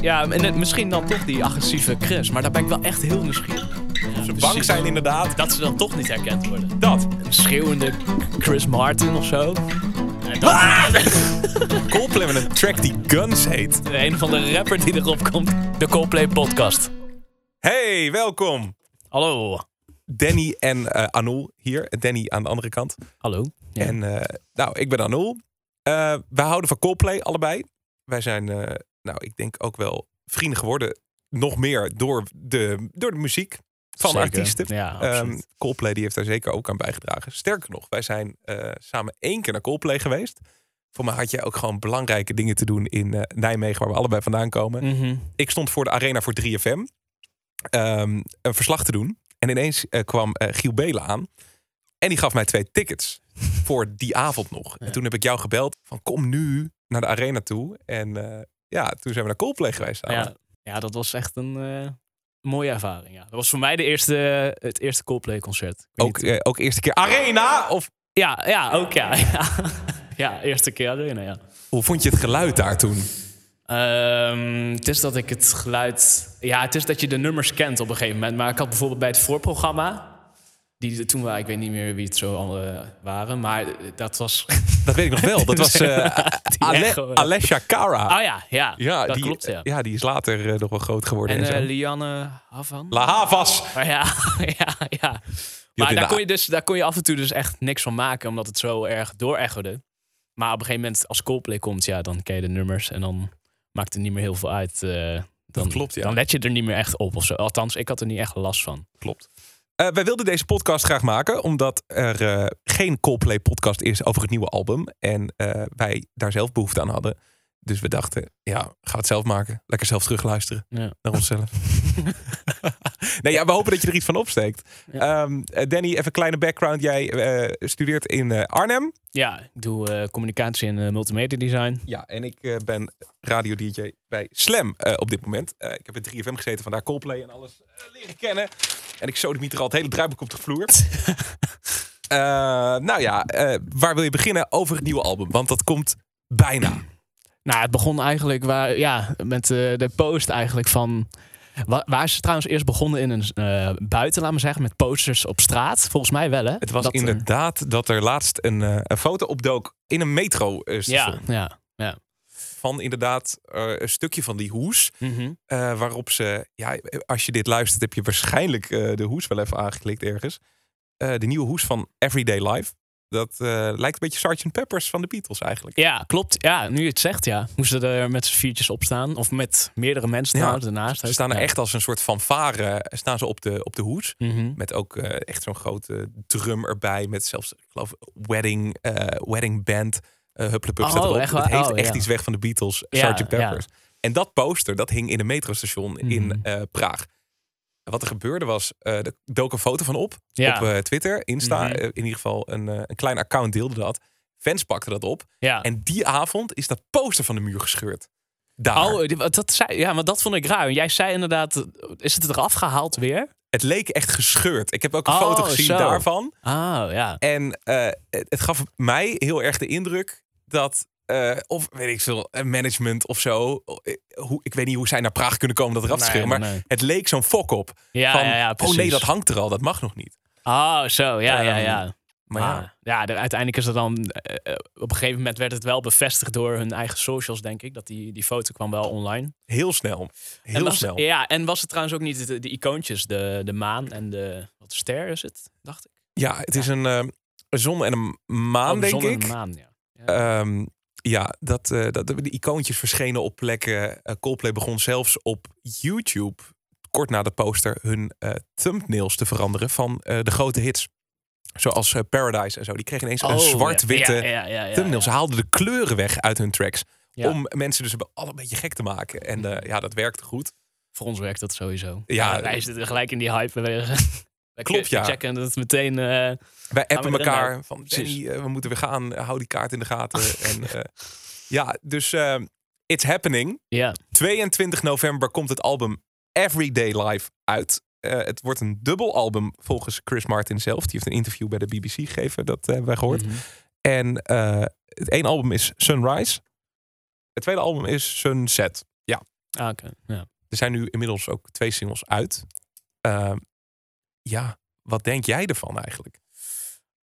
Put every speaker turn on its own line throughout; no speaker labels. Ja, en net- misschien dan toch die agressieve Chris. Maar daar ben ik wel echt heel nieuwsgierig.
Ze bang
precies.
zijn inderdaad.
dus Dat ze dan toch niet herkend worden.
Dat.
Een schreeuwende Chris Martin of zo.
En dat
Coldplay met een track die Guns heet.
een van de rapper die erop komt. De Coldplay podcast.
Hey, welkom.
Hallo.
Danny en eh, Anul hier. Danny aan de andere kant.
Hallo. Ja.
En eh, nou, ik ben Anul. Eh wij houden van Coldplay allebei. Wij zijn, eh, nou, ik denk ook wel vrienden geworden. Nog meer door de, door de muziek van
Zeker.
artiesten.
Ja,
Ehm,
absoluut.
Coldplay die heeft daar zeker ook aan bijgedragen. Sterker nog, wij zijn eh, samen één keer naar Coldplay geweest. Voor mij had jij ook gewoon belangrijke dingen te doen in eh, Nijmegen, waar we allebei vandaan komen.
Mhm.
Ik stond voor de arena voor 3FM ehm, een verslag te doen. En ineens eh, kwam eh, Giel Belen aan. En die gaf mij twee tickets voor die avond nog. En toen heb ik jou gebeld van kom nu naar de arena toe. En eh, ja, toen zijn we naar Coldplay geweest. die avond.
Ja, ja, dat was echt een eh, mooie ervaring. Ja. Dat was voor mij de eerste, het eerste Coldplay-concert. Ik weet
Ook,
niet-
eh, ook eerste keer arena of
ja, ja, ook ja. ja. ja, eerste keer arena, ja.
Hoe vond je het geluid daar toen?
Ehm, het is dat ik het geluid... Ja, het is dat je de nummers kent op een gegeven moment. Maar ik had bijvoorbeeld bij het voorprogramma... Die, toen waren, ik weet niet meer wie het zo allemaal waren, maar dat was...
Dat weet ik nog wel. Dat was eh, Ale-
echo, hè?
Alessia Cara.
Oh ja, ja,
ja,
dat
die,
klopt, ja.
die is later eh, nog wel groot geworden.
en
En, zo.
eh, Lianne Havan?
La Havas.
Maar ja, ja, ja.
in
Maar
de
daar kon,
a-
je dus, daar kon je af en toe dus echt niks van maken, omdat het zo erg doorechode. Maar op een gegeven moment, als Coldplay komt, ja, dan ken je de nummers en dan maakt het niet meer heel veel uit. eh, dan,
klopt, ja.
Dan let je er niet meer echt op of zo. Althans, ik had er niet echt last van.
Klopt. Eh, wij wilden deze podcast graag maken omdat er eh, geen Coldplay podcast is over het nieuwe album. En eh, wij daar zelf behoefte aan hadden. Dus we dachten, ja, ga het zelf maken. Lekker zelf terugluisteren
Ja.
naar onszelf. nee, ja, we hopen dat je er iets van opsteekt. Ehm, eh, Danny, even een kleine background. Jij eh, studeert in eh, Arnhem.
Ja, ik doe eh, communicatie en eh, multimedia design.
Ja, en ik eh, ben radio-dj bij Slam eh, op dit moment. Eh, ik heb in 3FM gezeten, vandaar Coldplay en alles eh, leren kennen. En ik sodemieter al het hele druiboek op de vloer. Eh, nou ja, eh, waar wil je beginnen over het nieuwe album? Want dat komt bijna.
Nou, het begon eigenlijk waar, ja, met eh, de post eigenlijk van... Wa waar ze trouwens eerst begonnen in een eh, buiten, laat maar zeggen, met posters op straat. Volgens mij wel, hè?
Het was
Dat, eh,
inderdaad dat er laatst een, eh, een foto opdook in een metro eh, station.
Ja, ja.
Van inderdaad eh, een stukje van die hoes.
Mhm.
eh, waarop ze, ja, als je dit luistert, heb je waarschijnlijk eh, de hoes wel even aangeklikt ergens. Eh, de nieuwe hoes van Everyday Life. Dat eh, lijkt een beetje Sgt. Peppers van de Beatles eigenlijk.
Ja, klopt. Ja, nu je het zegt, ja. Moesten er met z'n viertjes op staan. Of met meerdere mensen
Ja,
trouwens, daarnaast.
Ze
ook.
staan er
Ja.
echt als een soort fanfare eh, staan ze op, de, op de hoes.
Mhm.
Met ook eh, echt zo'n grote drum erbij. Met zelfs, ik geloof, wedding, eh, wedding band. eh hupplepup staat
Oh,
erop.
echt
het
waar?
heeft
Oh,
echt
ja.
iets weg van de Beatles,
Ja,
Sgt. Peppers. En dat poster, dat hing in een metrostation
Mhm.
in eh, Praag. En Wat er gebeurde was, eh er dook een foto van op.
Ja.
Op eh, Twitter, Insta.
Mhm.
eh, in ieder geval een, eh, een klein account deelde dat. Fans pakten dat op.
ja.
En die avond is dat poster van de muur gescheurd. Daar.
Oh, die- wat- dat zei, ja, maar dat vond ik raar. Jij zei inderdaad, is het eraf gehaald weer?
Het leek echt gescheurd. Ik heb ook een
Oh,
foto gezien
zo.
daarvan.
Ah, ja.
En eh, het, het gaf mij heel erg de indruk dat, eh, of weet ik veel, eh, management of zo. eh, Hoe, ik weet niet hoe zij naar Praag kunnen komen dat eraf te
Nee,
scheren. Maar
nee.
het leek zo'n fok op.
Ja,
van,
ja, ja,
oh nee,
precies.
dat hangt er al. Dat mag nog niet.
Oh, zo. Ja, ja,
Ehm,
ja.
Maar
Ah,
ja,
ja, de- uiteindelijk is dat dan... eh, eh, op een gegeven moment werd het wel bevestigd door hun eigen socials, denk ik. Dat die, die foto kwam wel online.
heel snel.
En
Heel
was-
snel.
Ja, en was het trouwens ook niet de, de icoontjes, de, de maan en de... Wat ster is het, dacht ik?
Ja, het is een, eh, een zon en een
Oh,
maan,
de
denk
zon en
ik.
de maan, ja.
Ehm, ja, dat, eh dat de icoontjes verschenen op plekken. Eh, Coldplay begon zelfs op YouTube, kort na de poster, hun eh, thumbnails te veranderen van eh, de grote hits. Zoals eh, Paradise en zo. Die kregen ineens een
Oh,
zwart-witte
ja, ja, ja, ja, ja.
thumbnail. Ze haalden de kleuren weg uit hun tracks.
Ja.
Om mensen dus al een beetje gek te maken. En eh, ja, dat werkte goed.
Voor ons werkt dat sowieso.
Ja.
Ja, wij zitten gelijk in die hype. We, we
Klopt, ja.
We checken dat meteen... eh,
Wij appen
maar inderdaad,
elkaar van
precies.
Danny, eh, we moeten weer gaan. Eh, hou die kaart in de gaten. en, eh, ja, dus eh, it's happening.
ja,
22 november komt het album Everyday Life uit. Eh, het wordt een dubbel album volgens Chris Martin zelf. Die heeft een interview bij de BBC gegeven, dat eh, hebben wij gehoord.
Mhm.
En eh, het ene album is Sunrise. Het tweede album is Sunset. Ja,
Ah, oké. Ja.
Er zijn nu inmiddels ook twee singles uit. Ehm, ja, wat denk jij ervan eigenlijk?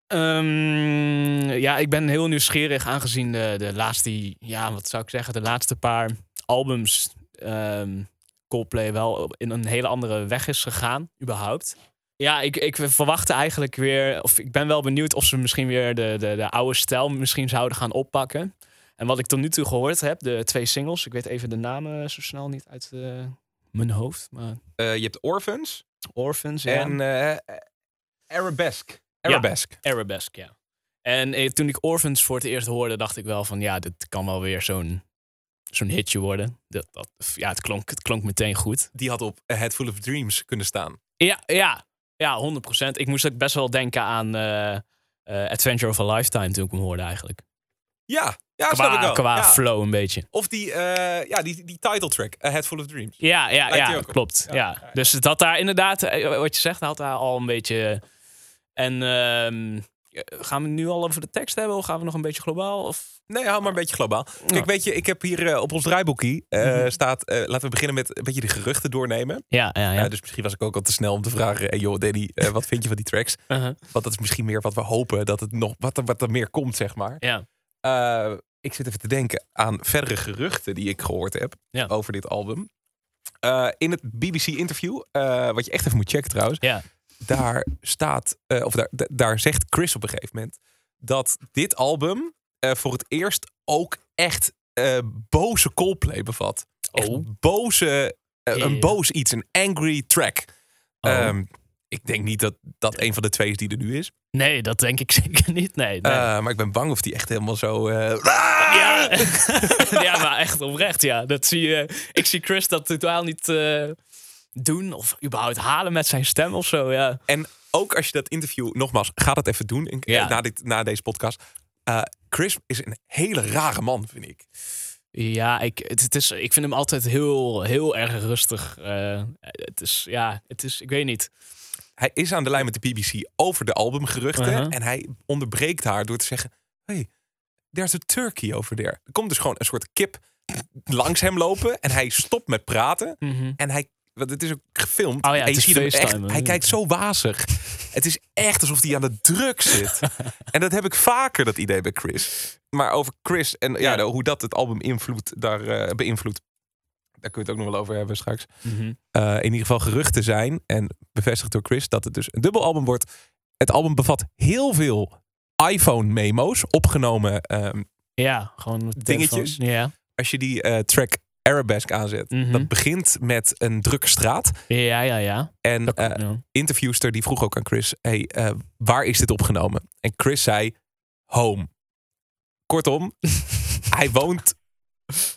Ehm, ja, ik ben heel nieuwsgierig aangezien de, de laatste, ja, wat zou ik zeggen, de laatste paar albums ehm Coldplay wel in een hele andere weg is gegaan, überhaupt. Ja, ik, ik verwachtte eigenlijk weer, of ik ben wel benieuwd of ze misschien weer de, de, de oude stijl misschien zouden gaan oppakken. En wat ik tot nu toe gehoord heb, de twee singles, ik weet even de namen zo snel niet uit eh, mijn hoofd, maar
Eh, je hebt Orphans
Orphans ja.
en eh, Arabesque. Arabesque.
Arabesque, ja. En eh, toen ik Orphans voor het eerst hoorde, dacht ik wel van ja, dit kan wel weer zo'n zo'n hitje worden. Dat, dat, ja, het klonk, het klonk meteen goed.
Die had op Head Full of Dreams kunnen staan.
Ja, ja, ja, 100%. Ik moest ook best wel denken aan eh, eh, Adventure of a Lifetime toen ik hem hoorde eigenlijk.
Ja, ja Ah, snap ik
Qua,
wel.
qua
Ja.
flow een beetje.
Of die, eh, ja, die, die title track, A Head Full of Dreams.
Ja, ja,
Lijkt die
ja
ook op.
klopt.
Ja,
Ja,
ja, ja.
Dus het had daar inderdaad, eh, wat je zegt, had daar al een beetje... En ehm, gaan we het nu al over de tekst hebben of gaan we nog een beetje globaal? Of
Nee, hou maar een beetje globaal. Kijk,
Ja.
weet je, ik heb hier eh, op ons draaiboekje eh,
Mhm.
staat... eh, laten we beginnen met een beetje de geruchten doornemen.
Ja, ja, ja.
Eh, dus misschien was ik ook al te snel om te vragen... Hey, joh, Danny, eh, wat vind je van die tracks?
Uh-huh.
Want dat is misschien meer wat we hopen, dat het nog, wat, er, wat er meer komt, zeg maar.
ja.
Eh, ik zit even te denken aan verdere geruchten die ik gehoord heb
Ja.
over dit album. Eh, in het BBC-interview, eh, wat je echt even moet checken trouwens...
Ja.
daar staat, eh, of daar, da- daar zegt Chris op een gegeven moment... dat dit album eh, voor het eerst ook echt eh, boze Coldplay bevat. Echt
Oh.
boze, eh,
Ja, ja,
een
ja.
boos iets, een angry track.
Oh.
Ehm, ik denk niet dat dat een van de twee is die er nu is.
Nee, dat denk ik zeker niet. Nee, nee.
Eh, maar ik ben bang of die echt helemaal zo... eh,
ja. ja, maar echt oprecht, ja. Dat zie je. Ik zie Chris dat totaal niet eh, doen of überhaupt halen met zijn stem of zo, ja.
En ook als je dat interview, nogmaals, ga dat even doen in-
Ja.
na, dit, na deze podcast. Eh, Chris is een hele rare man, vind ik.
Ja, ik, het, het is, ik vind hem altijd heel, heel erg rustig. Eh, het is, ja, het is, ik weet niet.
Hij is aan de lijn met de BBC over de albumgeruchten.
Uh-huh.
En hij onderbreekt haar door te zeggen... Hey, there's a turkey over there. Er komt dus gewoon een soort kip langs hem lopen. En hij stopt met praten. En hij... Want het is ook gefilmd.
Oh ja,
en
het is
echt,
FaceTime, hè?
hij kijkt zo wazig. het is echt alsof hij aan de druk zit. en dat heb ik vaker, dat idee bij Chris. Maar over Chris en ja,
Ja.
de- hoe dat het album invloedt, daar, eh, beïnvloedt... Daar kun je het ook nog wel over hebben straks.
Mhm.
Eh, in ieder geval geruchten zijn. En bevestigd door Chris dat het dus een dubbel album wordt. Het album bevat heel veel iPhone-memo's. Opgenomen ehm,
Ja, gewoon met de telefoon.
Dingetjes?
Ja.
als je die eh, track Arabesque aanzet.
Mhm.
Dat begint met een drukke straat.
ja, ja, ja.
En
Dat
eh
klopt, ja.
interviewster die vroeg ook aan Chris... Hey, eh, waar is dit opgenomen? En Chris zei, home. Kortom, hij woont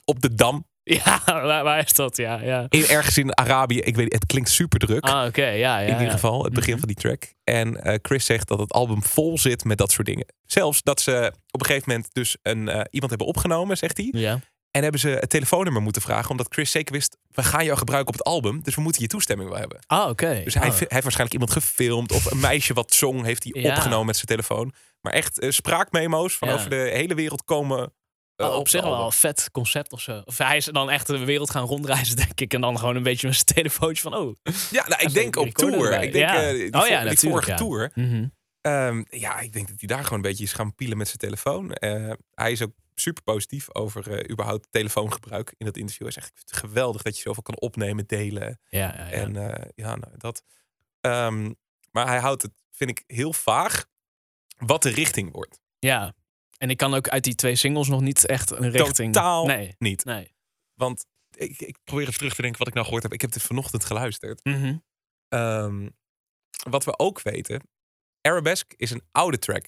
op de Dam.
Ja, waar, waar is dat? Ja, ja.
In, ergens in Arabië. Ik weet, het klinkt super druk.
Ah, oké, ja, ja.
in ieder
ja.
geval, het begin
Mhm.
van die track. En eh, Chris zegt dat het album vol zit met dat soort dingen. Zelfs dat ze op een gegeven moment dus een, eh, iemand hebben opgenomen, zegt hij.
Ja.
En hebben ze het telefoonnummer moeten vragen. Omdat Chris zeker wist, we gaan jou gebruiken op het album. Dus we moeten je toestemming wel hebben.
Ah, oké.
Dus hij,
Ah.
heeft- hij heeft waarschijnlijk iemand gefilmd. Of een meisje wat zong, heeft hij
Ja.
opgenomen met zijn telefoon. Maar echt eh, spraakmemo's van
Ja.
over de hele wereld komen. eh,
Oh, op, zich
het
wel
album.
een vet concept of zo. Of hij is dan echt de wereld gaan rondreizen, denk ik. En dan gewoon een beetje met zijn telefoontje van, oh.
Ja, nou, ik
Als
denk
een
op
recorder
tour.
erbij.
Ik denk,
Ja.
eh, die,
Oh
vor-
ja,
die
natuurlijk,
vorige
ja.
tour. Ehm, ja, ik denk dat hij daar gewoon een beetje is gaan pielen met zijn telefoon. Eh, hij is ook super positief over eh, überhaupt telefoongebruik in dat interview. Hij zegt, ik vind het geweldig dat je zoveel kan opnemen, delen.
Ja, ja, ja.
En eh, ja, nou, dat. Ehm, maar hij houdt het, vind ik, heel vaag wat de richting wordt.
ja. En ik kan ook uit die twee singles nog niet echt een richting...
Totaal
Nee,
niet.
nee.
Want ik, ik probeer even terug te denken wat ik nou gehoord heb. Ik heb dit vanochtend geluisterd.
Mhm.
Ehm, wat we ook weten, Arabesque is een oude track.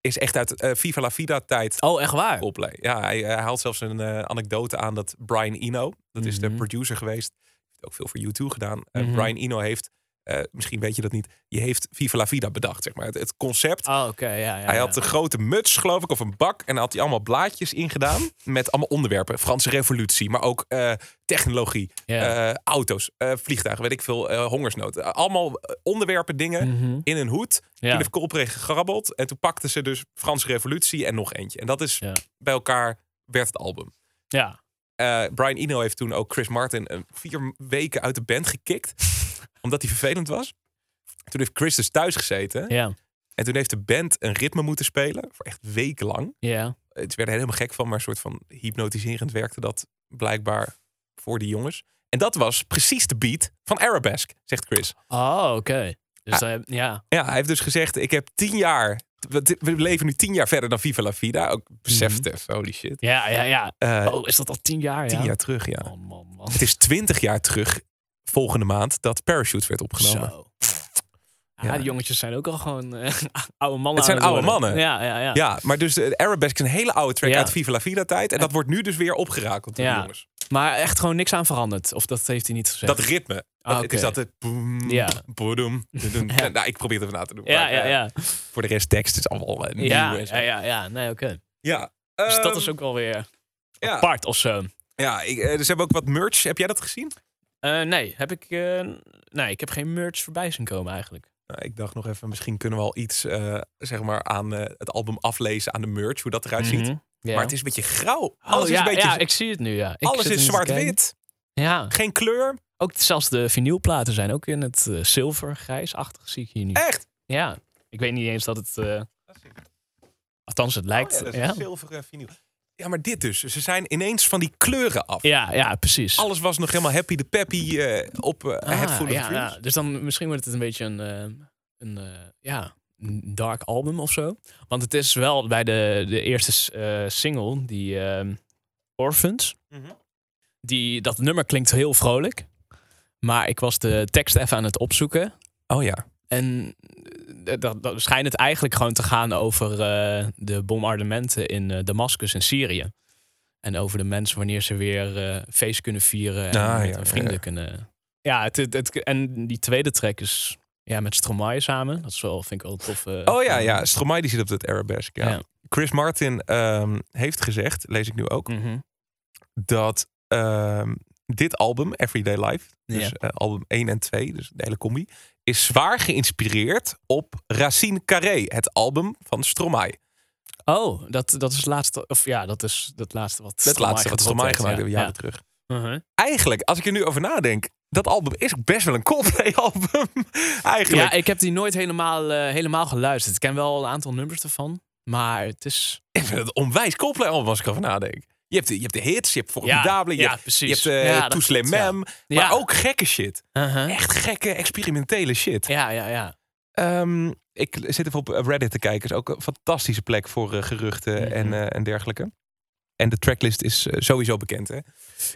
Is echt uit eh, Viva la Vida tijd
Oh, echt waar?
Coldplay. Ja, hij, hij haalt zelfs een eh, anekdote aan dat Brian Eno, dat is de
Mhm.
producer geweest, heeft ook veel voor U2 gedaan. Eh,
Mhm.
Brian Eno heeft, eh, misschien weet je dat niet, je heeft Viva la Vida bedacht, zeg maar. Het, het concept.
Oh, oké, ja, ja.
hij
ja.
had een grote muts, geloof ik, of een bak. En daar had hij allemaal blaadjes ingedaan met allemaal onderwerpen. Franse revolutie, maar ook eh, technologie,
Ja.
eh, auto's, eh, vliegtuigen, weet ik veel, eh, hongersnood. Allemaal eh, onderwerpen, dingen
Mhm.
in een hoed.
Ja.
Die heeft Colpré gegrabbeld. En toen pakten ze dus Franse Revolutie en nog eentje. En dat is
Ja.
bij elkaar werd het album.
ja.
Eh, Brian Eno heeft toen ook Chris Martin eh, vier weken uit de band gekikt. omdat hij vervelend was. Toen heeft Chris dus thuis gezeten.
Ja,
En toen heeft de band een ritme moeten spelen. Voor echt wekenlang.
ja.
Het werd er helemaal gek van, maar een soort van hypnotiserend werkte dat blijkbaar voor die jongens. En dat was precies de beat van Arabesque, zegt Chris.
Oh, oké.
Ah.
Dus eh, ja.
Ja, hij heeft dus gezegd: Ik heb tien jaar. We we leven nu tien jaar verder dan Viva la Vida. Ook beseft even, holy shit.
Ja, ja, ja.
Eh,
Mhm. Oh, is dat al tien jaar?
tien
ja?
jaar terug, ja.
Oh, man, man.
Het is twintig jaar terug, volgende maand, dat Parachute werd opgenomen.
Zo. Ja,
Ja.
die jongetjes zijn ook al gewoon eh, oude mannen.
Het zijn
aan
oude
worden.
mannen.
Ja, ja, ja.
Ja, maar dus de Arabesque is een hele oude track
Ja.
uit Viva la Vida tijd. En dat wordt nu dus weer opgerakeld door de
Ja.
jongens.
Maar echt gewoon niks aan veranderd. Of dat heeft hij niet gezegd.
Dat ritme. Dat,
Ah,
Het is
oké.
dat het... boem,
Ja.
boedoem, doedoem.
Ja.
Nou, ik probeer het even na te doen.
ja,
maar,
ja,
eh,
ja.
Voor de rest tekst is allemaal eh, nieuw.
Ja,
en zo.
ja, ja, ja. Nee, oké.
Ja.
Dus dat
Ehm,
is ook wel weer
ja.
apart of zo.
Ja, ik, eh, dus hebben we ook wat merch. Heb jij dat gezien?
Eh, nee, heb ik, eh, nee, ik heb geen merch voorbij zien komen eigenlijk.
Nou, ik dacht nog even, misschien kunnen we al iets eh, zeg maar aan eh, het album aflezen, aan de merch, hoe dat eruit ziet.
Mhm. Ja.
Maar het is een beetje grauw.
Oh,
Alles is
ja,
een beetje,
ja, ik zie het nu, ja. Ik
alles
zit
is
er niet te kijken.
zwart-wit.
Ja,
Geen kleur.
ook zelfs de vinylplaten zijn ook in het eh, zilvergrijsachtig zie ik hier nu.
Echt.
Ja, ik weet niet eens dat het... eh, althans, het lijkt...
Oh, ja, dat is
ja,
een zilveren vinyl. Ja, maar dit dus. Ze zijn ineens van die kleuren af.
ja, ja, precies.
Alles was nog helemaal happy de peppy eh, op eh,
Ah,
Head Full of
ja,
Dreams.
ja. Dus dan misschien wordt het een beetje een, eh, een eh, ja, een dark album of zo. Want het is wel bij de, de eerste eh, single, die ehm, Orphans.
Mhm.
Die, dat nummer klinkt heel vrolijk. Maar ik was de tekst even aan het opzoeken.
Oh ja.
En eh, dat, dat schijnt het eigenlijk gewoon te gaan over eh, de bombardementen in eh Damascus en Syrië. En over de mensen wanneer ze weer eh, feest kunnen vieren en
Ah,
met
ja,
hun vrienden
ja.
kunnen. Ja, het, het, het- en die tweede track is ja, met Stromae samen. Dat is wel, vind ik wel een toffe.
Oh ja, ja. Stromae die zit op dat Arabesque. Ja.
eh, Ja.
Chris Martin ehm, heeft gezegd, lees ik nu ook,
Mhm.
dat ehm, dit album, Everyday Life, dus
Ja.
eh, album 1 en 2, dus de hele combi, is zwaar geïnspireerd op Racine Carré, het album van Stromae.
Oh, dat, dat is het laatste. Of ja, dat is het laatste wat.
Het laatste wat Stromae gemaakt hebben, jaren terug.
Mhm.
Eigenlijk, als ik er nu over nadenk, dat album is ook best wel een Coldplay-album. Eigenlijk.
Ja,
Ja,
ik heb die nooit helemaal, eh, helemaal geluisterd. Ik ken wel een aantal nummers ervan. Maar het is.
ik vind het een onwijs Coldplay-album als ik erover nadenk. Je hebt, de, je hebt de hits, je hebt Formidable, je,
ja,
hebt- je
precies.
hebt eh
Ja, dat
Too Slim
klopt, ja.
Mem,
Ja.
maar ook gekke shit.
Uh-huh.
Echt gekke, experimentele shit.
Ja, ja, ja.
Ehm, ik zit even op Reddit te kijken. is ook een fantastische plek voor eh, geruchten en,
Mhm.
eh, en dergelijke. En de tracklist is eh, sowieso bekend. Hè?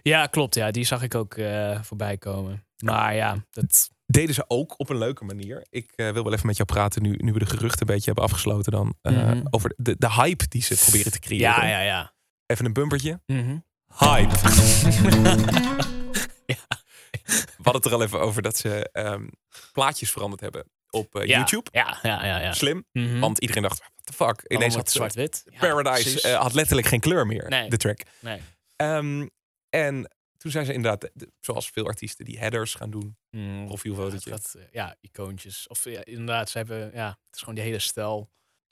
Ja, klopt. Ja, die zag ik ook eh, voorbij komen. Maar ja, dat...
Deden ze ook op een leuke manier. Ik eh, wil wel even met jou praten nu, nu we de geruchten een beetje hebben afgesloten. Dan eh,
Mhm.
over de, de hype die ze proberen te creëren.
Ja, ja, ja.
Even een bumpertje.
Mhm.
Hype. We hadden het er al even over dat ze ehm, plaatjes veranderd hebben op eh,
Ja.
YouTube.
Ja, ja, ja. ja.
Slim.
Mhm.
Want iedereen dacht, what the fuck. Ineens
Allemaal
had
wat
ze-
zwart-wit. Ja,
Paradise
precies.
eh, had letterlijk geen kleur meer,
Nee.
de track.
Nee.
Ehm, en toen zijn ze inderdaad, de- de- zoals veel artiesten, die headers gaan doen.
Mm,
Profielfotootje.
dat, eh, ja, icoontjes. Of ja, inderdaad, ze hebben... Ja, het is gewoon die hele stijl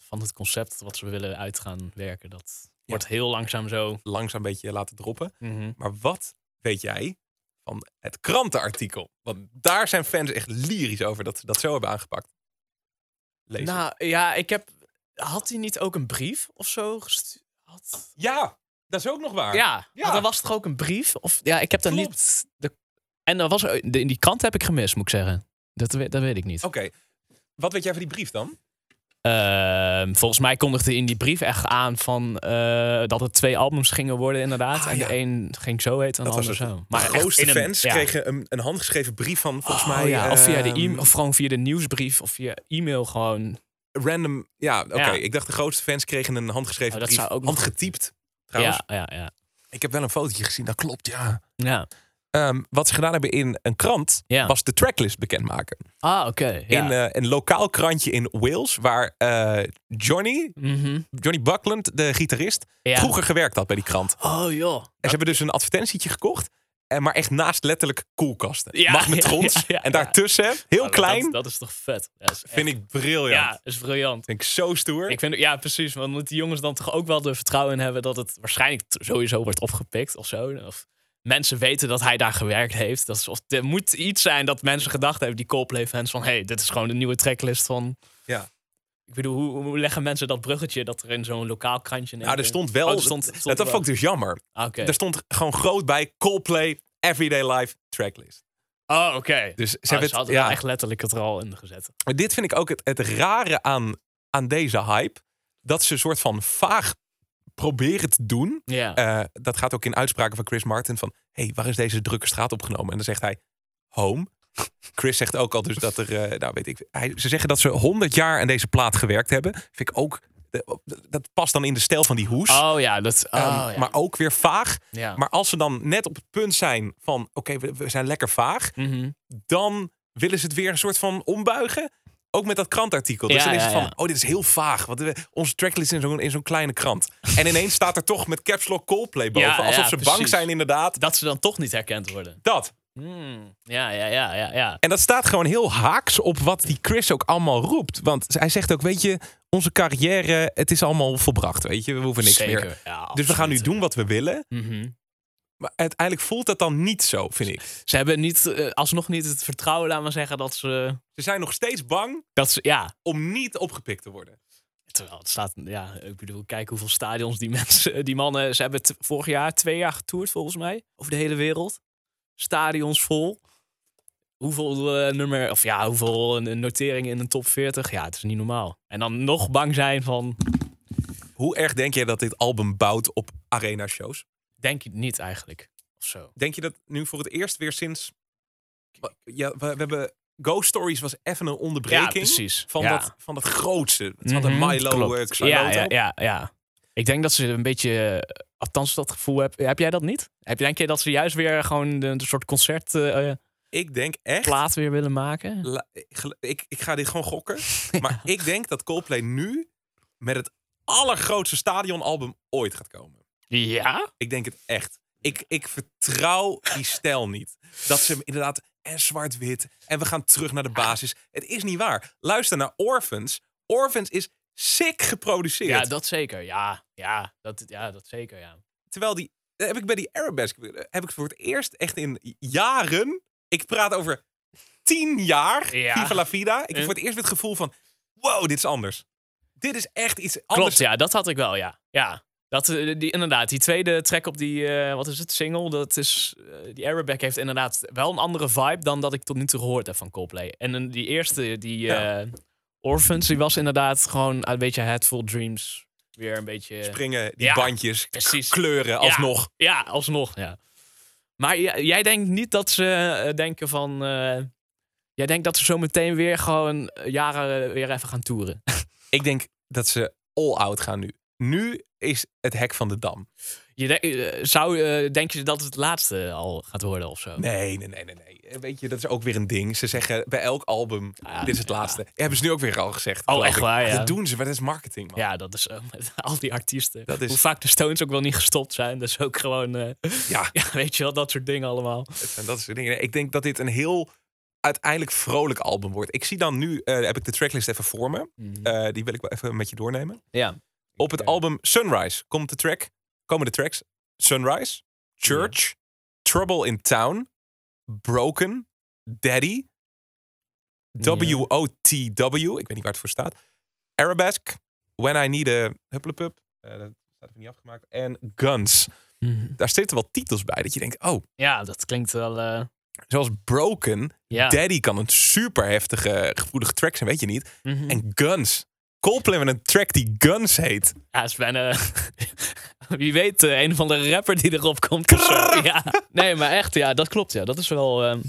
van het concept wat ze willen uitgaan werken. Dat wordt heel langzaam zo.
Langzaam een beetje laten droppen.
Mhm.
Maar wat weet jij van het krantenartikel? Want daar zijn fans echt lyrisch over dat ze dat zo hebben aangepakt. Lezen.
Nou, ja, ik heb... Had hij niet ook een brief of zo gestuurd? Had...
ja, dat is ook nog waar.
Ja,
Ja.
want dan was het toch ook een brief? Of, ja, ik heb daar
Klopt.
niet... De, en dan was er, de, in die krant heb ik gemist, moet ik zeggen. Dat, we- dat weet ik niet.
Oké, wat weet jij van die brief dan?
Ehm, volgens mij kondigde in die brief echt aan van, eh, dat het twee albums gingen worden, inderdaad.
Ah,
en
ja.
de een ging zo heet en de
Dat was
ander
het.
zo.
Maar
echt
de grootste
in een-
fans
ja.
kregen een, een handgeschreven brief van volgens
Oh,
mij...
ja, of via de
ehm,
e of gewoon via de nieuwsbrief of via e-mail gewoon.
random. Ja, oké.
Ja.
Ik dacht de grootste fans kregen een handgeschreven
Oh, dat
brief.
zou ook nog-
handgetypt. Trouwens,
Ja, ja, ja.
ik heb wel een fotootje gezien. Dat klopt, ja.
ja.
Ehm, wat ze gedaan hebben in een krant
Ja.
was de tracklist bekendmaken.
Ah, oké. ja.
In eh, een lokaal krantje in Wales, waar eh, Johnny,
Mhm,
Johnny Buckland, de gitarist,
ja.
vroeger gewerkt had bij die krant. En
Oh joh.
ze hebben dus een advertentietje gekocht. En maar echt naast letterlijk koelkasten.
Ja,
Magnetrons.
ja, ja,
en
ja.
daartussen, heel
Nou,
klein,
Dat, dat is toch vet? Ja, is
vind
echt-
ik briljant.
Ja, is briljant.
Vind ik zo stoer.
Ik vind, ja, precies. Want moeten die jongens dan toch ook wel de vertrouwen in hebben dat het waarschijnlijk t- sowieso wordt opgepikt of zo? Of mensen weten dat hij daar gewerkt heeft. Dat is, of, er moet iets zijn dat mensen gedacht hebben, die Coldplay-fans, van hé, hey, dit is gewoon de nieuwe tracklist van.
Ja.
Ik bedoel, hoe, hoe leggen mensen dat bruggetje dat er in zo'n lokaal krantje. in één
nou, er
keer-
stond wel...
Oh, er stond-
dat-
stond
dat
er
vond ik dus jammer.
Ah, oké.
Er stond gewoon groot bij Coldplay Everyday Life tracklist.
Oh, oké. Dus
Dus ze
ze
hebben het-
hadden
ja,
echt letterlijk het er al in gezet.
Maar dit vind ik ook het, het rare aan, aan deze hype. Dat ze een soort van vaag proberen te doen.
Ja.
Eh, dat gaat ook in uitspraken van Chris Martin van... hey, waar is deze drukke straat opgenomen? En dan zegt hij, home. Chris zegt ook al dus dat er... eh, nou, weet ik, hij, ze zeggen dat ze 100 jaar aan deze plaat gewerkt hebben. Vind ik ook... eh, Dat past dan in de stijl van die hoes.
oh ja, dat. Oh,
Ehm,
ja.
Maar ook weer vaag.
ja.
Maar als ze dan net op het punt zijn van... oké, we, we zijn lekker vaag...
Mhm.
dan willen ze het weer een soort van ombuigen. Ook met dat krantartikel. Dus
Ja,
dan is
ja,
het van,
ja.
oh, dit is heel vaag. Want we- onze tracklist is in zo'n in zo'n kleine krant. En ineens staat er toch met caps lock Coldplay boven.
Ja, ja,
alsof ze bang
precies.
zijn inderdaad.
Dat ze dan toch niet herkend worden.
Dat.
Hmm. Ja, ja, ja, ja, ja.
En dat staat gewoon heel haaks op wat die Chris ook allemaal roept. Want hij zegt ook, weet je, onze carrière, het is allemaal volbracht. Weet je, we hoeven niks
Zeker,
meer.
ja,
Dus we gaan nu
absoluut.
doen wat we willen.
Mhm.
Maar uiteindelijk voelt dat dan niet zo, vind ik.
Ze hebben niet, eh, alsnog niet het vertrouwen, laat maar zeggen, dat ze.
Ze zijn nog steeds bang
Dat ze ja.
om niet opgepikt te worden.
Terwijl het staat, ja, ik bedoel, kijk hoeveel stadions die mensen, die mannen, ze hebben t- vorig jaar twee jaar getoerd volgens mij, over de hele wereld. Stadions vol. Hoeveel eh, nummer, of ja, hoeveel eh, noteringen in een top 40, ja, het is niet normaal. En dan nog bang zijn van,
Hoe erg denk jij dat dit album bouwt op arena-shows?
denk je niet eigenlijk, of zo.
Denk je dat nu voor het eerst weer sinds... Wa- Ja, we, we hebben... Ghost Stories was even een onderbreking.
Ja, precies.
Van,
Ja.
dat, van dat grootste. Van
Want
de Milo eh,
Mhm, klopt.
Xyloto.
ja, ja, ja, ja. Ik denk dat ze een beetje, eh, althans dat gevoel heb. Heb jij dat niet? Heb, denk jij dat ze juist weer gewoon een soort concertplaat
Ik denk echt...
weer willen maken?
la- gel- ik, ik ga dit gewoon gokken. Maar ik denk dat Coldplay nu met het allergrootste stadionalbum ooit gaat komen.
Ja?
Ik denk het echt. Ik, ik vertrouw die stijl niet. Dat ze hem inderdaad en zwart-wit en we gaan terug naar de basis. Het is niet waar. Luister naar Orphans. Orphans is sick geproduceerd.
Ja, dat zeker. Ja, ja, dat, ja, dat zeker, ja.
Terwijl die dat heb ik bij die Arabesque heb ik voor het eerst echt in jaren. Ik praat over tien jaar
Ja.
Viva La Vida. Ik heb
Eh.
voor het eerst weer het gevoel van wow, dit is anders. Dit is echt iets anders.
Klopt, ja, dat had ik wel, ja. Ja, dat, eh, die, inderdaad, die tweede track op die, eh, wat is het, single, dat is, eh, die Arabic heeft inderdaad wel een andere vibe dan dat ik tot nu toe gehoord heb van Coldplay. En eh, die eerste, die
Ja.
eh, Orphans, die was inderdaad gewoon een beetje Headful Dreams, weer een beetje...
Springen, die
Ja,
bandjes,
precies.
kleuren alsnog.
Ja, alsnog, ja. Maar j- jij denkt niet dat ze eh, denken van... eh, jij denkt dat ze zo meteen weer gewoon eh, jaren eh, weer even gaan toeren.
Ik denk dat ze all out gaan nu. Nu is het hek van de dam.
Je denk- eh, zou, eh, denk je dat het laatste al gaat worden of zo?
Nee, nee, nee, nee, nee. Eh, Weet je, dat is ook weer een ding. Ze zeggen bij elk album,
Ah,
dit is het
ja.
laatste. Hebben ze nu ook weer al gezegd.
Oh,
geloof
echt
ik.
waar, ja.
Dat doen ze, maar dat is marketing, man. Ja,
Ja, dat is zo met al die artiesten.
Dat is-
Hoe vaak de Stones ook wel niet gestopt zijn. Dat is ook gewoon, eh, ja, weet je wel, dat soort dingen allemaal.
en dat is het ding. Ik denk dat dit een heel uiteindelijk vrolijk album wordt. Ik zie dan nu, eh, heb ik de tracklist even voor me. Eh, die wil ik wel even met je doornemen.
Ja.
Op het album Sunrise komt de track, komen de tracks Sunrise, Church, Trouble in Town, Broken, Daddy, WOTW, ik weet niet waar het voor staat. Arabesque, When I Need a Hupplepup, eh, dat staat even niet afgemaakt. En Guns.
Mhm.
Daar zitten wel titels bij dat je denkt, oh,
Ja, dat klinkt wel... eh,
zoals Broken,
ja.
Daddy kan een super heftige, gevoelige track zijn, weet je niet.
Mhm.
En Guns. Coldplay met een track die Guns heet.
Ja, het is bijna... Wie weet, eh, een van de rapper die erop komt. of zo. Ja. Nee, maar echt, ja, dat klopt. Ja. Dat is wel... ehm,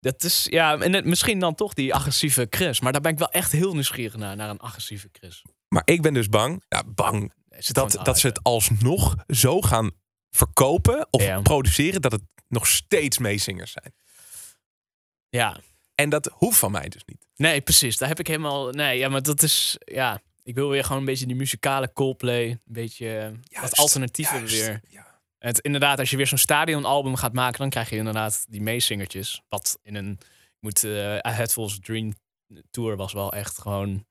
dat is, ja, en het- misschien dan toch die agressieve Chris. Maar daar ben ik wel echt heel nieuwsgierig naar, naar een agressieve Chris.
Maar ik ben dus bang, ja, bang,
Nee, zit
Dus dat,
gewoon
dat ze
aan,
het alsnog zo gaan verkopen of
Ja.
produceren dat het nog steeds meezingers zijn.
hè. Ja,
En dat hoeft van mij dus niet.
nee, precies. Daar heb ik helemaal... Nee, ja, maar dat is... Ja, ik wil weer gewoon een beetje die muzikale Coldplay. Een beetje eh,
Juist,
wat alternatieven
Juist,
weer.
Ja.
Het, inderdaad, als je weer zo'n stadionalbum gaat maken, dan krijg je inderdaad die meezingertjes. Wat in een. Ik moet, eh A Headful's Dream Tour was wel echt gewoon.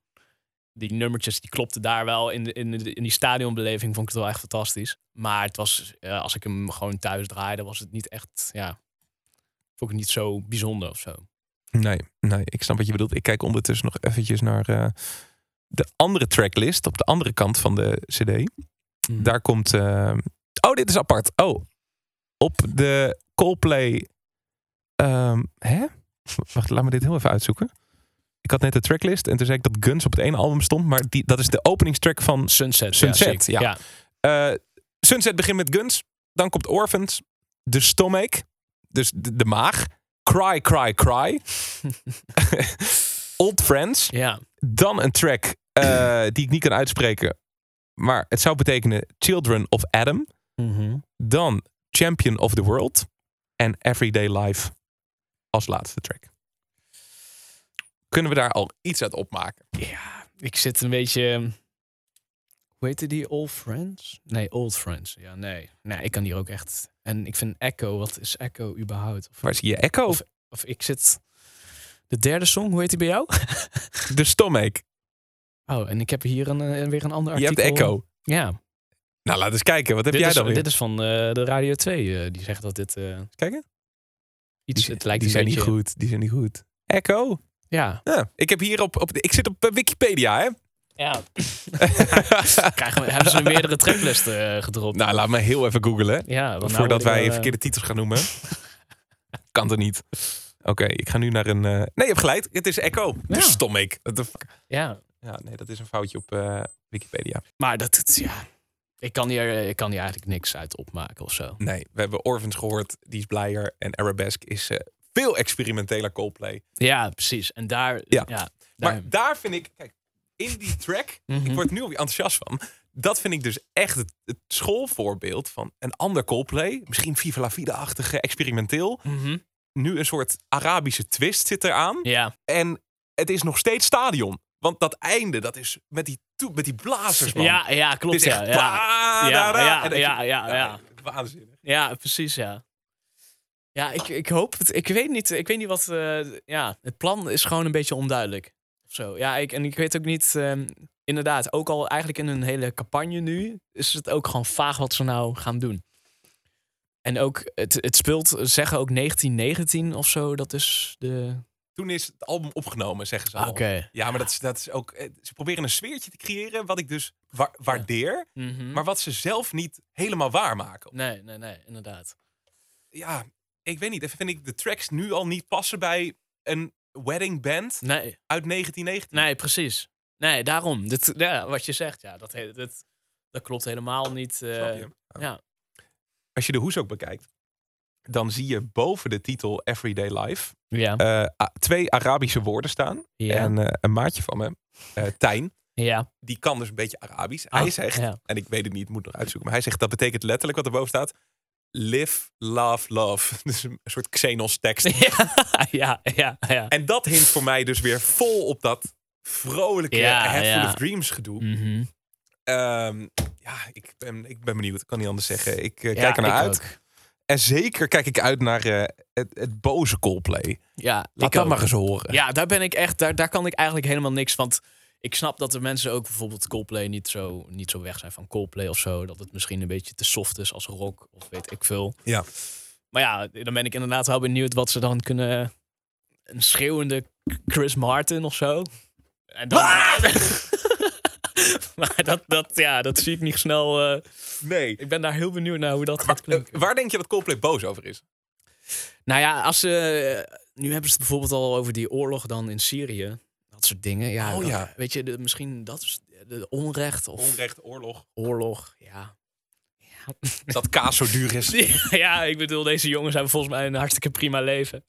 Die nummertjes die klopten daar wel. In, de, in, de- in die stadionbeleving vond ik het wel echt fantastisch. Maar het was, eh, als ik hem gewoon thuis draaide, was het niet echt. Ja, vond ik het niet zo bijzonder of zo.
Nee, nee, ik snap wat je bedoelt. Ik kijk ondertussen nog eventjes naar eh, de andere tracklist op de andere kant van de
Mhm.
CD. Daar komt. eh, Oh, dit is apart. Oh, op de Coldplay. ehm, hè? W- Wacht, laat me dit heel even uitzoeken. Ik had net de tracklist en toen zei ik dat Guns op het ene album stond, maar die, dat is de openingstrack van
Sunset.
Sunset,
zeker.
ja. eh, Sunset begint met Guns. Dan komt Orphans. De Stomach. Dus de, de maag. Cry, cry, cry. Old Friends.
ja.
Dan een track eh, die ik niet kan uitspreken. Maar het zou betekenen Children of Adam. Mhm. Dan Champion of the World. En Everyday Life als laatste track. Kunnen we daar al iets uit opmaken?
Ja, ik zit een beetje. ehm, Hoe heette die? Old Friends? Nee, Old Friends. Ja, nee. Nee, ik kan hier ook echt. En ik vind Echo, wat is Echo überhaupt? Of,
Waar zie je Echo?
Of- of ik zit. De derde song, hoe heet die bij jou?
De Stomach.
Oh, en ik heb hier een, eh, weer een ander
Je
artikel.
hebt Echo.
Ja. Heb
Nou, laat eens kijken. Wat heb
dit,
jij
is,
dan weer?
dit is van eh, de Radio 2. eh, die zegt dat dit eh,
Kijken.
iets...
zi-
het lijkt
die
een
zijn
beetje-
niet goed. Die zijn niet goed. Echo.
Ja.
Ja, ik heb hier op, op ik zit op eh, Wikipedia, hè?
Ja. Krijgen we, hebben ze meerdere tracklisten eh, gedropt.
nou, laat me heel even googlen.
ja, want nou
voordat
word ik
wij
wel, eh,
verkeerde titels gaan noemen. kan er niet. Oké, ik ga nu naar een. eh, Nee, je hebt gelijk. Het is Echo.
Ja.
Dus stom ik. What the fuck?
Ja,
Ja, nee, dat is een foutje op eh, Wikipedia.
Maar dat, het- ja. Ik kan, hier, eh, ik kan hier eigenlijk niks uit opmaken of zo.
Nee, we hebben Orphans gehoord. Die is blijer. En Arabesque is eh, veel experimenteler Coldplay.
Ja, precies. En daar.
Ja.
Ja.
Maar
daar-
daar vind ik. Kijk, in die track.
Mhm.
Ik word nu alweer enthousiast van. Dat vind ik dus echt het, het schoolvoorbeeld van een ander Coldplay. Misschien Viva la Vida-achtige, experimenteel.
Mhm.
Nu een soort Arabische twist zit eraan.
Ja.
En het is nog steeds stadion. Want dat einde, dat is met die, toe- met die blazers, man.
ja, ja,
het
klopt.
is
Ja,
echt...
ja. Ja,
Ja,
ja, ja, ja, ja, ja.
Waanzinnig.
Ja, precies, ja. Ja, ik, ik hoop het. Ik weet niet, ik weet niet wat. eh, ja, het plan is gewoon een beetje onduidelijk. Of zo. Ja, ik, en ik weet ook niet. ehm, inderdaad, ook al eigenlijk in hun hele campagne nu. Is het ook gewoon vaag wat ze nou gaan doen. En ook, het, het speelt, ze zeggen ook 1919 of zo. Dat is de.
Toen is het album opgenomen, zeggen ze
Oké.
al. Ja, maar dat is, dat is ook... eh, Ze proberen een sfeertje te creëren, wat ik dus wa- waardeer.
Mhm.
Maar wat ze zelf niet helemaal waarmaken.
Nee, nee, nee, inderdaad.
Ja, ik weet niet. Even vind ik de tracks nu al niet passen bij een wedding band
Nee,
uit 1919.
nee precies. Nee, daarom. Dit, ja, wat je zegt, ja, dat, he- dat, dat klopt helemaal niet. eh,
Snap je?
ja.
Als je de hoes ook bekijkt, dan zie je boven de titel Everyday Life
ja,
eh, a- twee Arabische woorden staan.
Mhm. ja,
En eh, een maatje van me, eh, Tijn,
ja.
die kan dus een beetje Arabisch. Hij
Ah,
zegt,
ja.
en ik weet het niet, moet nog uitzoeken, maar hij zegt dat betekent letterlijk wat erboven staat. Live, love, love. Dus een soort Xenos tekst.
ja, ja, ja, ja.
En dat hint voor mij dus weer vol op dat vrolijke
Ja,
Headful
ja.
of Dreams gedoe.
Mhm.
Ehm, ja, ik ben, ik ben benieuwd. Ik kan niet anders zeggen. Ik eh,
Ja,
kijk er naar
ik
uit.
ook.
En zeker kijk ik uit naar eh, het, het boze Coldplay.
Ja,
Laat
ik
dat
ook.
maar eens horen.
Ja, daar ben ik echt, daar, daar kan ik eigenlijk helemaal niks van. Ik snap dat de mensen ook bijvoorbeeld Coldplay niet zo, niet zo weg zijn van Coldplay of zo. Dat het misschien een beetje te soft is als rock of weet ik veel.
Ja.
Maar ja, dan ben ik inderdaad wel benieuwd wat ze dan kunnen... Een schreeuwende Chris Martin of zo. En dan... maar dat, dat, ja, dat zie ik niet snel. eh.
Nee.
ik ben daar heel benieuwd naar hoe dat gaat
Eh,
klinken.
waar denk je dat Coldplay boos over is?
Nou ja, als ze. Nu hebben ze het bijvoorbeeld al over die oorlog dan in Syrië. Dat soort dingen. Ja,
Oh
dat-
ja.
Weet je, de- misschien dat is de onrecht of
Onrecht, oorlog.
oorlog. Ja.
dat kaas zo duur is.
ja, ik bedoel, deze jongens hebben volgens mij een hartstikke prima leven.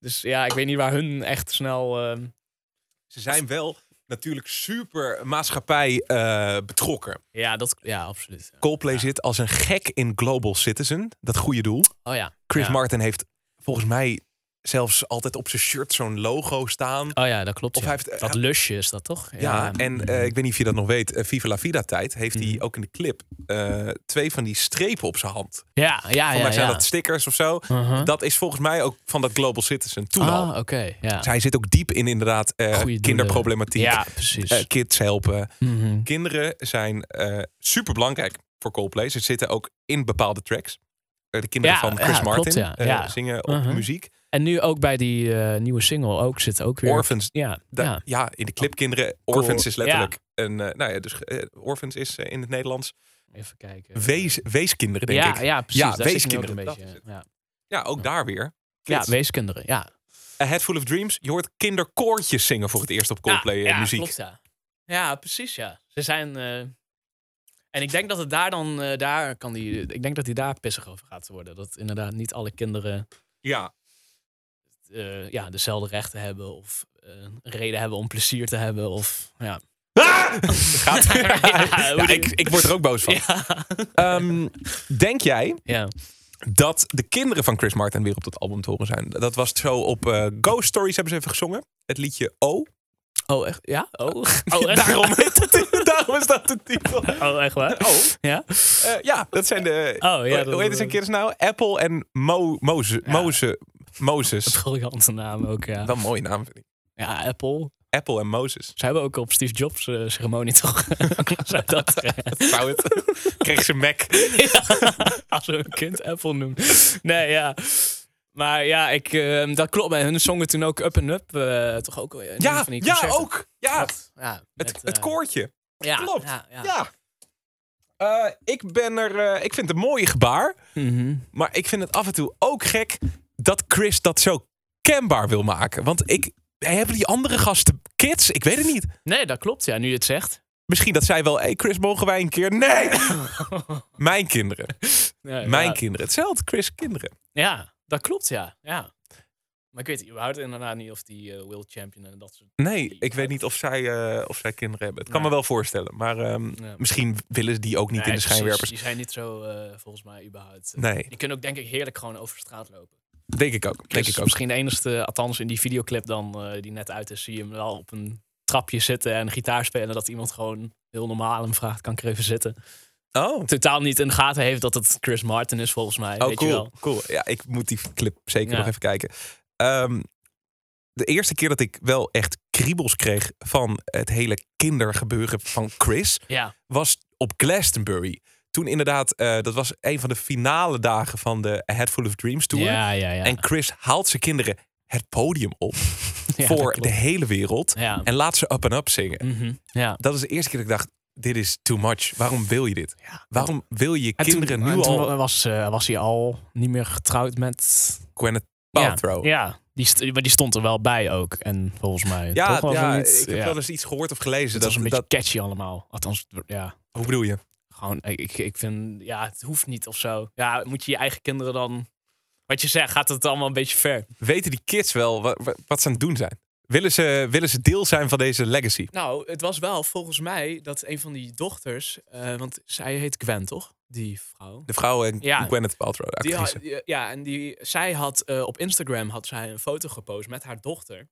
Dus ja, ik weet niet waar hun echt snel. ehm,
Ze zijn wel natuurlijk super maatschappij eh, betrokken.
ja, dat, ja, absoluut. ja.
Coldplay zit als een gek in Global Citizen. Dat goede doel.
Oh ja.
Chris
ja.
Martin heeft volgens mij zelfs altijd op zijn shirt zo'n logo staan.
Oh ja, dat klopt.
Of
ja.
hij heeft- eh,
dat lusje is dat toch?
Ja, en eh, ik weet niet of je dat nog weet. eh, Viva la Vida tijd heeft hij
Mhm.
ook in de clip eh, twee van die strepen op zijn hand. Volgens
ja, ja, Ah, ja.
mij zijn
ja.
dat stickers of zo.
Uh-huh.
Dat is volgens mij ook van dat Global Citizen toen al.
Ah, oké. ja.
Dus hij zit ook diep in inderdaad eh,
Goeie doelen.
kinderproblematiek.
Ja, precies.
eh, kids helpen.
Mhm.
Kinderen zijn super belangrijk voor Coldplay. Ze zitten ook in bepaalde tracks. Eh, de kinderen
Ja,
van
ja,
Chris
klopt,
Martin
ja,
eh,
ja.
zingen op
Mhm.
muziek.
En nu ook bij die eh, nieuwe single ook zit ook weer.
Orphans,
Ja,
Da- ja.
ja. Oh,
in de clip kinderen. Orphans is letterlijk een... eh, nou ja, dus eh, Orphans is eh, in het Nederlands
Even kijken.
wees, weeskinderen, denk
ja,
ik.
ja, precies.
Ja,
daar zit ik nu ook
weeskinderen,
Een
dat
beetje, ja.
Ja, ook daar weer.
ja,
Kids.
weeskinderen. Ja.
A Head Full of Dreams. Je hoort kinderkoortjes zingen voor het eerst op Coldplay
ja,
eh,
ja,
muziek.
Klopt, ja. ja, precies. Ja. Ze zijn. eh, En ik denk dat het daar dan. eh, daar kan die, ik denk dat hij daar pissig over gaat worden. Dat inderdaad niet alle kinderen
Ja,
eh, ja, dezelfde rechten hebben. Of eh, een reden hebben om plezier te hebben. Of, ja.
gaat.
Ah! Ja, hoe
Ja,
denk-
ik, ik word er ook boos van.
Ja.
Ehm, denk jij
ja.
dat de kinderen van Chris Martin weer op dat album te horen zijn? Dat was zo op eh, Ghost Stories hebben ze even gezongen. Het liedje O.
Oh, echt? Ja? Oh, oh echt?
Daarom, heet het- daarom is dat de titel.
Oh, echt waar?
Oh.
Ja?
Eh, ja, dat zijn de...
Oh, ja.
hoe heet zijn kinderen nou? Apple en Mo, Moze,
Ja.
Moze, Moses.
Briljante naam ook, ja.
Wel een mooie naam vind ik.
Ja, Apple.
Apple en Moses.
Ze hebben ook op Steve Jobs eh, ceremonie toch? Zou dat eh,
Zou het? Kreeg ze Mac.
als we een kind Apple noemen. Nee, ja. Maar ja, ik, eh, dat klopt. En hun zongen toen ook Up and Up. eh, toch ook? eh, in een
Ja,
van die
ja
concerten.
ook. Ja,
Dat, ja,
het,
met,
het
eh,
koortje.
ja,
klopt.
Ja. ja.
Ja. Eh, ik ben er... eh, ik vind het een mooie gebaar.
Mhm.
Maar ik vind het af en toe ook gek dat Chris dat zo kenbaar wil maken. Want ik... eh, Hebben die andere gasten kids? Ik weet het niet.
Nee, dat klopt. Ja, nu je het zegt.
Misschien dat zij wel... Hé hey Chris, mogen wij een keer? Nee! Mijn kinderen.
Nee,
Mijn
ja.
kinderen. Hetzelfde Chris kinderen.
Ja, dat klopt, ja. ja. Maar ik weet überhaupt inderdaad niet of die eh, World Champion en dat soort...
Nee, ik weet niet of zij, eh, of zij kinderen hebben. Het kan
Nee.
me wel voorstellen. Maar ehm,
Ja.
misschien willen ze die ook niet
Nee,
in de
precies.
schijnwerpers.
Die zijn niet zo, eh, volgens mij, überhaupt. eh,
Nee,
Die kunnen ook denk ik heerlijk gewoon over straat lopen.
denk ik ook. Denk
Chris is
ik ook.
Misschien de enige, althans in die videoclip dan, eh, die net uit is, zie je hem wel op een trapje zitten en gitaar spelen. Dat iemand gewoon heel normaal hem vraagt, kan ik er even zitten?
Oh,
Totaal niet in de gaten heeft dat het Chris Martin is, volgens mij.
oh
weet je
cool,
wel.
cool. Ja, ik moet die clip zeker
Ja.
nog even kijken. Ehm, de eerste keer dat ik wel echt kriebels kreeg van het hele kindergebeuren van Chris
Ja,
was op Glastonbury. Toen inderdaad, eh, dat was een van de finale dagen van de A Head Full of Dreams Tour.
ja, ja. ja.
En Chris haalt zijn kinderen het podium op
Ja, dat
voor
klopt.
de hele wereld.
Ja.
En laat ze up and up zingen.
Mhm, ja.
Dat is de eerste keer dat ik dacht, dit is too much. Waarom wil je dit?
Ja.
Waarom wil je
En
kinderen
toen,
nu
en toen
al
Was, eh, was hij al niet meer getrouwd met...
Gwyneth Paltrow?
Ja, ja. Die, st- maar die stond er wel bij ook. En volgens mij
Ja,
toch wel
ja
zoiets.
ik heb
ja.
wel eens iets gehoord of gelezen.
Het
Dat,
was een
dat,
beetje catchy allemaal. Althans, ja.
hoe bedoel je?
Gewoon, ik- ik, ik vind, ja, het hoeft niet of zo. Ja, moet je je eigen kinderen dan... Wat je zegt, gaat het allemaal een beetje ver.
Weten die kids wel wa- wa- wat, ze aan het doen zijn? Willen ze, willen ze deel zijn van deze legacy?
Nou, het was wel volgens mij dat een van die dochters... eh, want zij heet Gwen, toch? Die vrouw.
De vrouw en
Ja.
Gwyneth Paltrow, de
Die
actrice.
had- die- ja, en die, zij had eh, op Instagram had zij een foto gepost met haar dochter.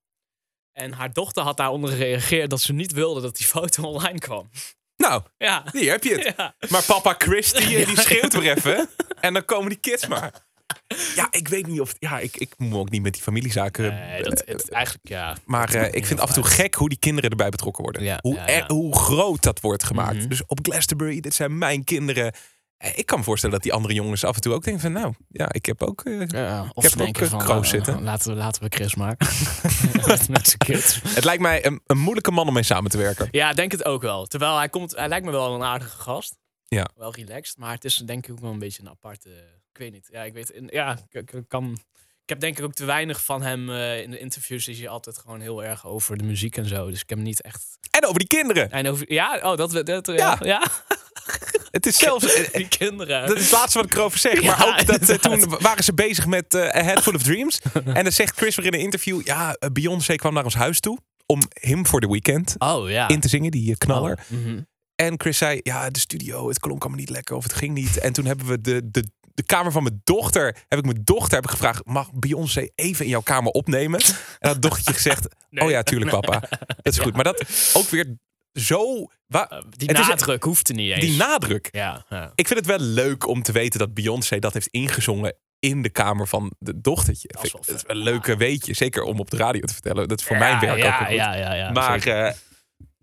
En haar dochter had daaronder gereageerd dat ze niet wilde dat die foto online kwam.
Nou,
Ja.
hier heb je het.
ja.
Maar papa Chris, die, eh, die schreeuwt weer even. En dan komen die kids maar. Ja, ik weet niet of... Ja, ik, ik moet ook niet met die familiezaken...
Nee, Eh, dat, het, eigenlijk ja.
Maar eh,
maakt
ik
niet
vind
heel
af en toe
uit.
gek hoe die kinderen erbij betrokken worden.
Ja,
hoe,
ja, Mhm.
er-
ja.
hoe groot dat wordt gemaakt. Dus op Glastonbury, dit zijn mijn kinderen. Eh, Ik kan me voorstellen dat die andere jongens af en toe ook denken van... nou, ja, ik heb ook... eh,
Ja, of
heb
ze
ook
denken
een
van,
kroos
eh,
zitten.
Laten we, laten we Chris maken. Met- met zijn kids.
Het lijkt mij een, een moeilijke man om mee samen te werken.
Ja, ik denk het ook wel. Terwijl hij komt, hij lijkt me wel een aardige gast.
Ja.
Wel relaxed, maar het is denk ik ook wel een beetje een aparte. Ik weet niet. Ja, ik weet. in- Ja, ik- ik ik kan. Ik heb denk ik ook te weinig van hem eh, in de interviews. Is hij altijd gewoon heel erg over de muziek en zo. Dus ik heb hem niet echt.
En over die kinderen.
En over, ja, oh, dat, we- dat
Ja.
ja, ja,
Het is zelfs... eh, eh,
die kinderen.
Dat is het laatste wat ik erover zeg. Maar
Ja,
ook dat eh,
inderdaad.
toen waren ze bezig met eh, A Head Full of Dreams. En dan zegt Chris weer in een interview... Ja, eh, Beyoncé kwam naar ons huis toe om hem voor de weekend
oh ja.
in te zingen, die eh, knaller.
Mhm.
En Chris zei, ja, de studio, het klonk allemaal niet lekker of het ging niet. En toen hebben we de, de, de kamer van mijn dochter heb ik mijn dochter heb ik gevraagd: mag Beyoncé even in jouw kamer opnemen? En had dochtertje gezegd: Oh ja, tuurlijk, papa. Dat is goed. Maar dat ook weer zo. wa-
Die
het is-
nadruk hoeft er niet eens.
die nadruk.
ja, ja.
Ik vind het wel leuk om te weten dat Beyoncé dat heeft ingezongen in de kamer van de dochtertje. Dat
is
is,
wel
dat is wel een leuke weetje. Zeker om op de radio te vertellen. Dat is voor
Ja,
mijn werk ook
ja,
heel goed.
ja, ja, ja,
maar
zeker.
eh,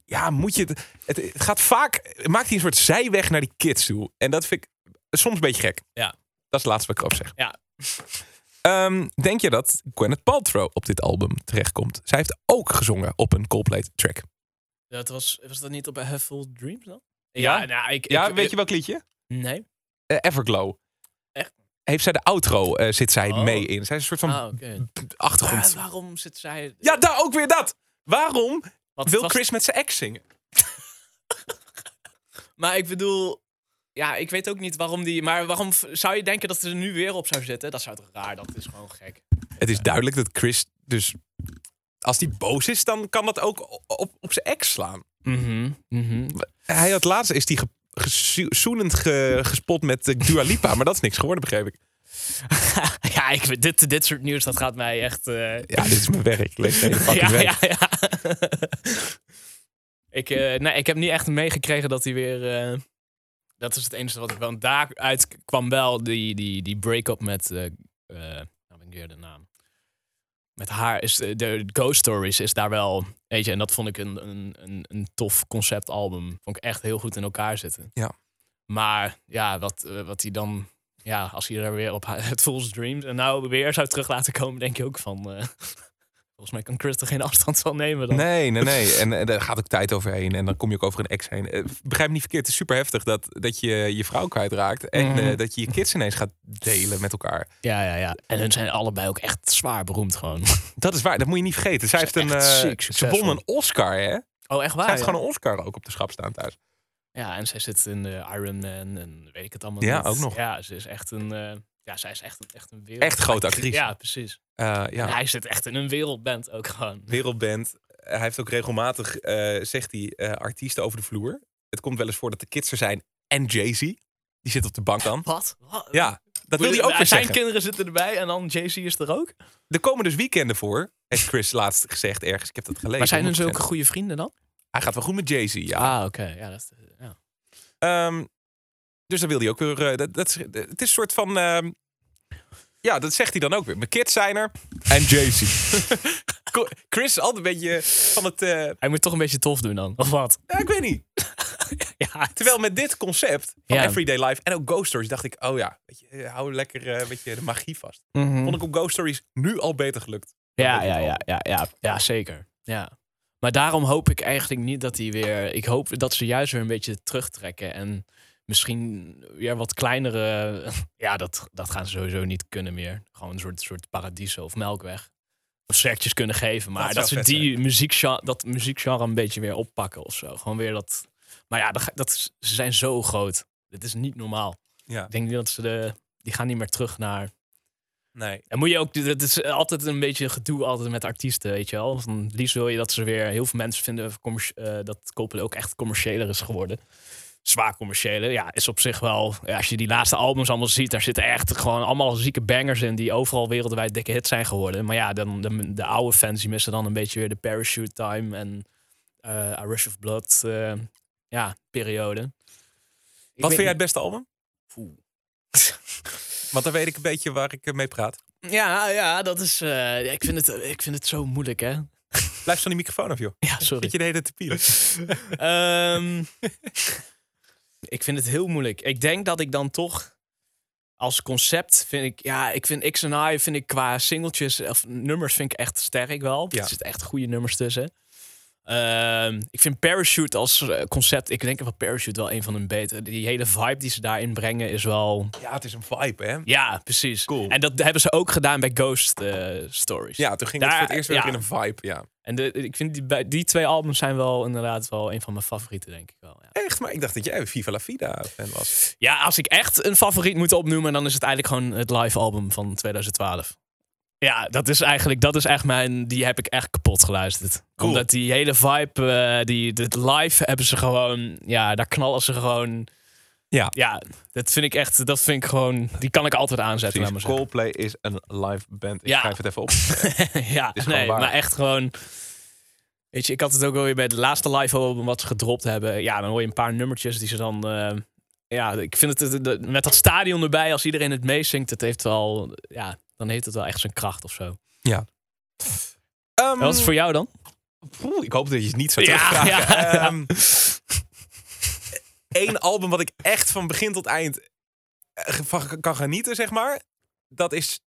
ja, moet je... Het, het, het gaat vaak... het Maakt hij een soort zijweg naar die kids toe. En dat vind ik soms een beetje gek.
Ja.
Dat is het laatste wat ik erop zeg.
Ja.
Ehm, denk je dat Gwyneth Paltrow op dit album terechtkomt? Zij heeft ook gezongen op een Coldplay track.
dat was, was dat niet op A Headful Dreams dan?
Ja?
nou, ik,
Ja,
ik-
weet je welk liedje?
Nee.
Eh, Everglow.
Echt?
Heeft zij de outro, eh, zit zij
Oh.
mee in. Zij is een soort van
Ah, oké.
achtergrond.
Maar waarom zit zij...
Ja, daar ook weer dat. Waarom
Wat
wil
was-
Chris met zijn ex zingen?
Maar ik bedoel... Ja, ik weet ook niet waarom die... Maar waarom v- zou je denken dat ze er nu weer op zou zitten? Dat zou toch raar, dat is gewoon gek.
Het is duidelijk dat Chris dus... Als die boos is, dan kan dat ook o- op, op zijn ex slaan.
Mhm, mhm.
Hij had laatst is die ge, gezo- zoenend ge- gespot met eh, Dua Lipa. maar dat is niks geworden, begreep ik.
ja, ik, weet- dit, dit soort nieuws, dat gaat mij echt... eh,
Ja, dit is mijn werk. Lees deze fucking
ja,
werk.
ja, ja. ik, eh, nee, ik heb niet echt meegekregen dat hij weer... eh, dat is het enige wat ik wel... Daaruit kwam wel die, die, die break-up met... eh eh, nou ben ik weer de naam. Met haar is eh, de Ghost Stories is daar wel... Weet je, en dat vond ik een, een, een, een tof conceptalbum. Vond ik echt heel goed in elkaar zitten.
Ja.
Maar ja, wat, eh, wat hij dan... Ja, als hij er weer op het Fool's Dreams en nou weer zou terug laten komen, denk je ook van... eh, Volgens mij kan Chris er geen afstand van nemen dan.
Nee, nee, nee. En eh, daar gaat ook tijd overheen. En dan kom je ook over een ex heen. Eh, Begrijp me niet verkeerd. Het is super heftig dat, dat je je vrouw kwijtraakt. En
Mhm.
eh, dat je je kids ineens gaat delen met elkaar.
Ja, ja, ja. En hun zijn allebei ook echt zwaar beroemd gewoon.
Dat is waar. Dat moet je niet vergeten. Zij heeft een.
echt
eh,
ziek
ze
succesvol.
won een Oscar, hè? Zij
Oh, echt waar?
heeft
ja.
gewoon een Oscar ook op de schap staan thuis.
Ja, en zij zit in de Iron Man en weet ik het allemaal
Ja,
niet.
ook nog.
Ja, ze is echt een... eh, ja, zij is echt, echt een wereld...
Echt grote actrice.
Ja, precies.
Eh, ja.
En hij zit echt in een wereldband ook gewoon.
Wereldband. Eh, Hij heeft ook regelmatig, eh, zegt hij, eh, artiesten over de vloer. Het komt wel eens voor dat de kids er zijn en Jay-Z. Die zit op de bank dan.
Wat? Wat?
Ja, dat wil hij ook
Ja,
weer
Zijn
zeggen.
kinderen zitten erbij en dan Jay-Z is er ook.
Er komen dus weekenden voor. Heeft Chris laatst gezegd ergens. Ik heb dat gelezen.
Maar zijn hun
100%.
zulke goede vrienden dan?
Hij gaat wel goed met Jay-Z, ja.
Ah, oké. Ja, dat is... Ja.
Ehm, dus dan wil hij ook weer... eh, dat, dat, is- het is een soort van... ehm, ja, dat zegt hij dan ook weer. Mijn kids zijn er. En Jay-Z. Co- Chris is altijd een beetje van het... eh,
Hij moet toch een beetje tof doen dan, of wat?
ja, ik weet niet.
Ja,
Terwijl met dit concept van
Ja.
Everyday Life en ook Ghost Stories... dacht ik, oh ja, weet je, eh, hou lekker eh, een beetje de magie vast.
Mhm. Hm.
Vond ik op Ghost Stories nu al beter gelukt.
Ja,
Dat
ja,
het
ja, ja, ja, ja, zeker. Ja. Maar daarom hoop ik eigenlijk niet dat hij weer. Ik hoop dat ze juist weer een beetje terugtrekken. En misschien weer wat kleinere. Ja, dat, dat gaan ze sowieso niet kunnen meer. Gewoon een soort, soort paradiso of melkweg. Of sertjes kunnen geven. Maar
Dat
dat,
zou
ze
vet
die muziekgenre, dat muziekgenre een beetje weer oppakken of zo. Gewoon weer dat. Maar ja, dat, ga- dat, is- ze zijn zo groot. Dit is niet normaal.
Ja.
Ik denk niet dat ze de. Die gaan niet meer terug naar
Nee.
en moet je ook, dat is altijd een beetje gedoe altijd met artiesten, weet je wel. Want dan liefst wil je dat ze weer, heel veel mensen vinden commerci- eh, dat Coldplay ook echt commerciëler is geworden. Zwaar commerciëler, ja, is op zich wel, ja, als je die laatste albums allemaal ziet, daar zitten echt gewoon allemaal zieke bangers in die overal wereldwijd dikke hits zijn geworden. Maar ja, dan, de, de oude fans die missen dan een beetje weer de Parachute Time en eh A Rush of Blood, eh, ja, periode. Ik
Wat
weet
vind jij het
niet-
beste album?
Oeh.
Want dan weet ik een beetje waar ik eh, mee praat.
Ja, ja, dat is, eh, ik, vind het, ik vind het zo moeilijk, hè.
Blijf van die microfoon af, joh.
Ja, sorry.
Zit je de hele tijd te pielen?
Ehm, ik vind het heel moeilijk. Ik denk dat ik dan toch als concept vind ik, ja, ik vind X en I vind ik qua singeltjes of nummers vind ik echt sterk wel.
Ja.
Er zitten echt goede nummers tussen. Ehm, ik vind Parachute als eh, concept, ik denk dat Parachute wel een van hun betere. Die hele vibe die ze daarin brengen is wel,
Ja, het is een vibe, hè?
ja, precies.
Cool.
En dat hebben ze ook gedaan bij Ghost eh, Stories.
Ja, toen ging
Daar-
het voor het eerst weer
ja.
in een vibe, ja.
En de, ik vind die, bij- die twee albums zijn wel inderdaad wel een van mijn favorieten, denk ik wel. Ja.
Echt, maar ik dacht dat jij Viva La Vida fan was.
Ja, als ik echt een favoriet moet opnoemen, dan is het eigenlijk gewoon het live album van 2012. Ja, dat is eigenlijk, dat is echt mijn, die heb ik echt kapot geluisterd.
Cool.
Omdat die hele vibe, eh, die, dit live hebben ze gewoon, ja, daar knallen ze gewoon
Ja.
Ja, dat vind ik echt, dat vind ik gewoon, die kan ik altijd aanzetten. laat
Precies.
maar zeggen.
Coldplay is een live band. Ik
Ja.
schrijf het even op.
ja,
is gewoon
nee,
waar.
maar echt gewoon. Weet je, ik had het ook alweer bij het laatste live album wat ze gedropt hebben. Ja, dan hoor je een paar nummertjes die ze dan. eh, ja, ik vind het, het- het- met dat stadion erbij, als iedereen het meezingt, het heeft wel. Ja, dan heeft het wel echt zijn kracht of zo.
Ehm,
En wat is het voor jou dan?
poeh, ik hoop dat je het niet zo
Ja,
terugvraagt.
ja.
Ehm, Eén album wat ik echt van begin tot eind eh, van kan genieten, zeg maar. Dat is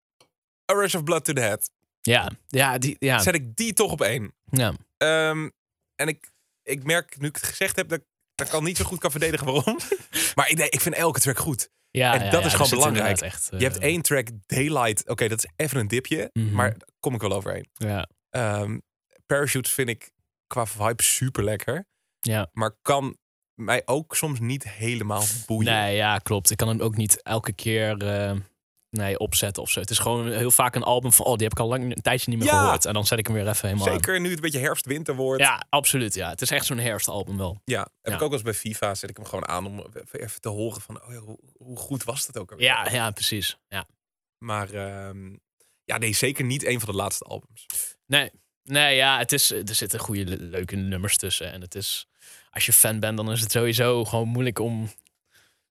A Rush of Blood to the Head.
Ja, ja, die, ja.
Zet ik die toch op één.
Ah. ja.
Ehm, en ik, ik merk, nu ik het gezegd heb, dat ik dat ik al niet zo goed kan verdedigen waarom. Maar ik, nee, ik vind elke track goed.
ja
En
ja,
dat
ja,
is
er
gewoon
zit
belangrijk.
inderdaad Echt,
Je hebt
eh,
één track, Daylight. Oké, dat is even een dipje,
Mhm.
maar daar kom ik wel overheen.
Ja,
Ehm, Parachutes vind ik qua vibe super lekker.
Ja.
Maar kan mij ook soms niet helemaal boeien.
Nee, ja, klopt. Ik kan hem ook niet elke keer eh, nee, opzetten of zo. Het is gewoon heel vaak een album van, oh, die heb ik al lang een tijdje niet meer
Ja.
gehoord. En dan zet ik hem weer even helemaal aan.
Zeker nu het een beetje herfst-winter wordt.
Ja, absoluut. Ja. Het is echt zo'n herfstalbum wel.
Ja, heb
Ja.
ik ook wel eens bij FIFA. Zet ik hem gewoon aan om even te horen van oh ja, hoe, hoe goed was dat ook alweer.
Ja, ja precies. Ja.
Maar ehm, ja, nee, zeker niet een van de laatste albums.
Nee, nee ja, het is, eh, er zitten goede, le- leuke nummers tussen. En het is, als je fan bent, dan is het sowieso gewoon moeilijk om...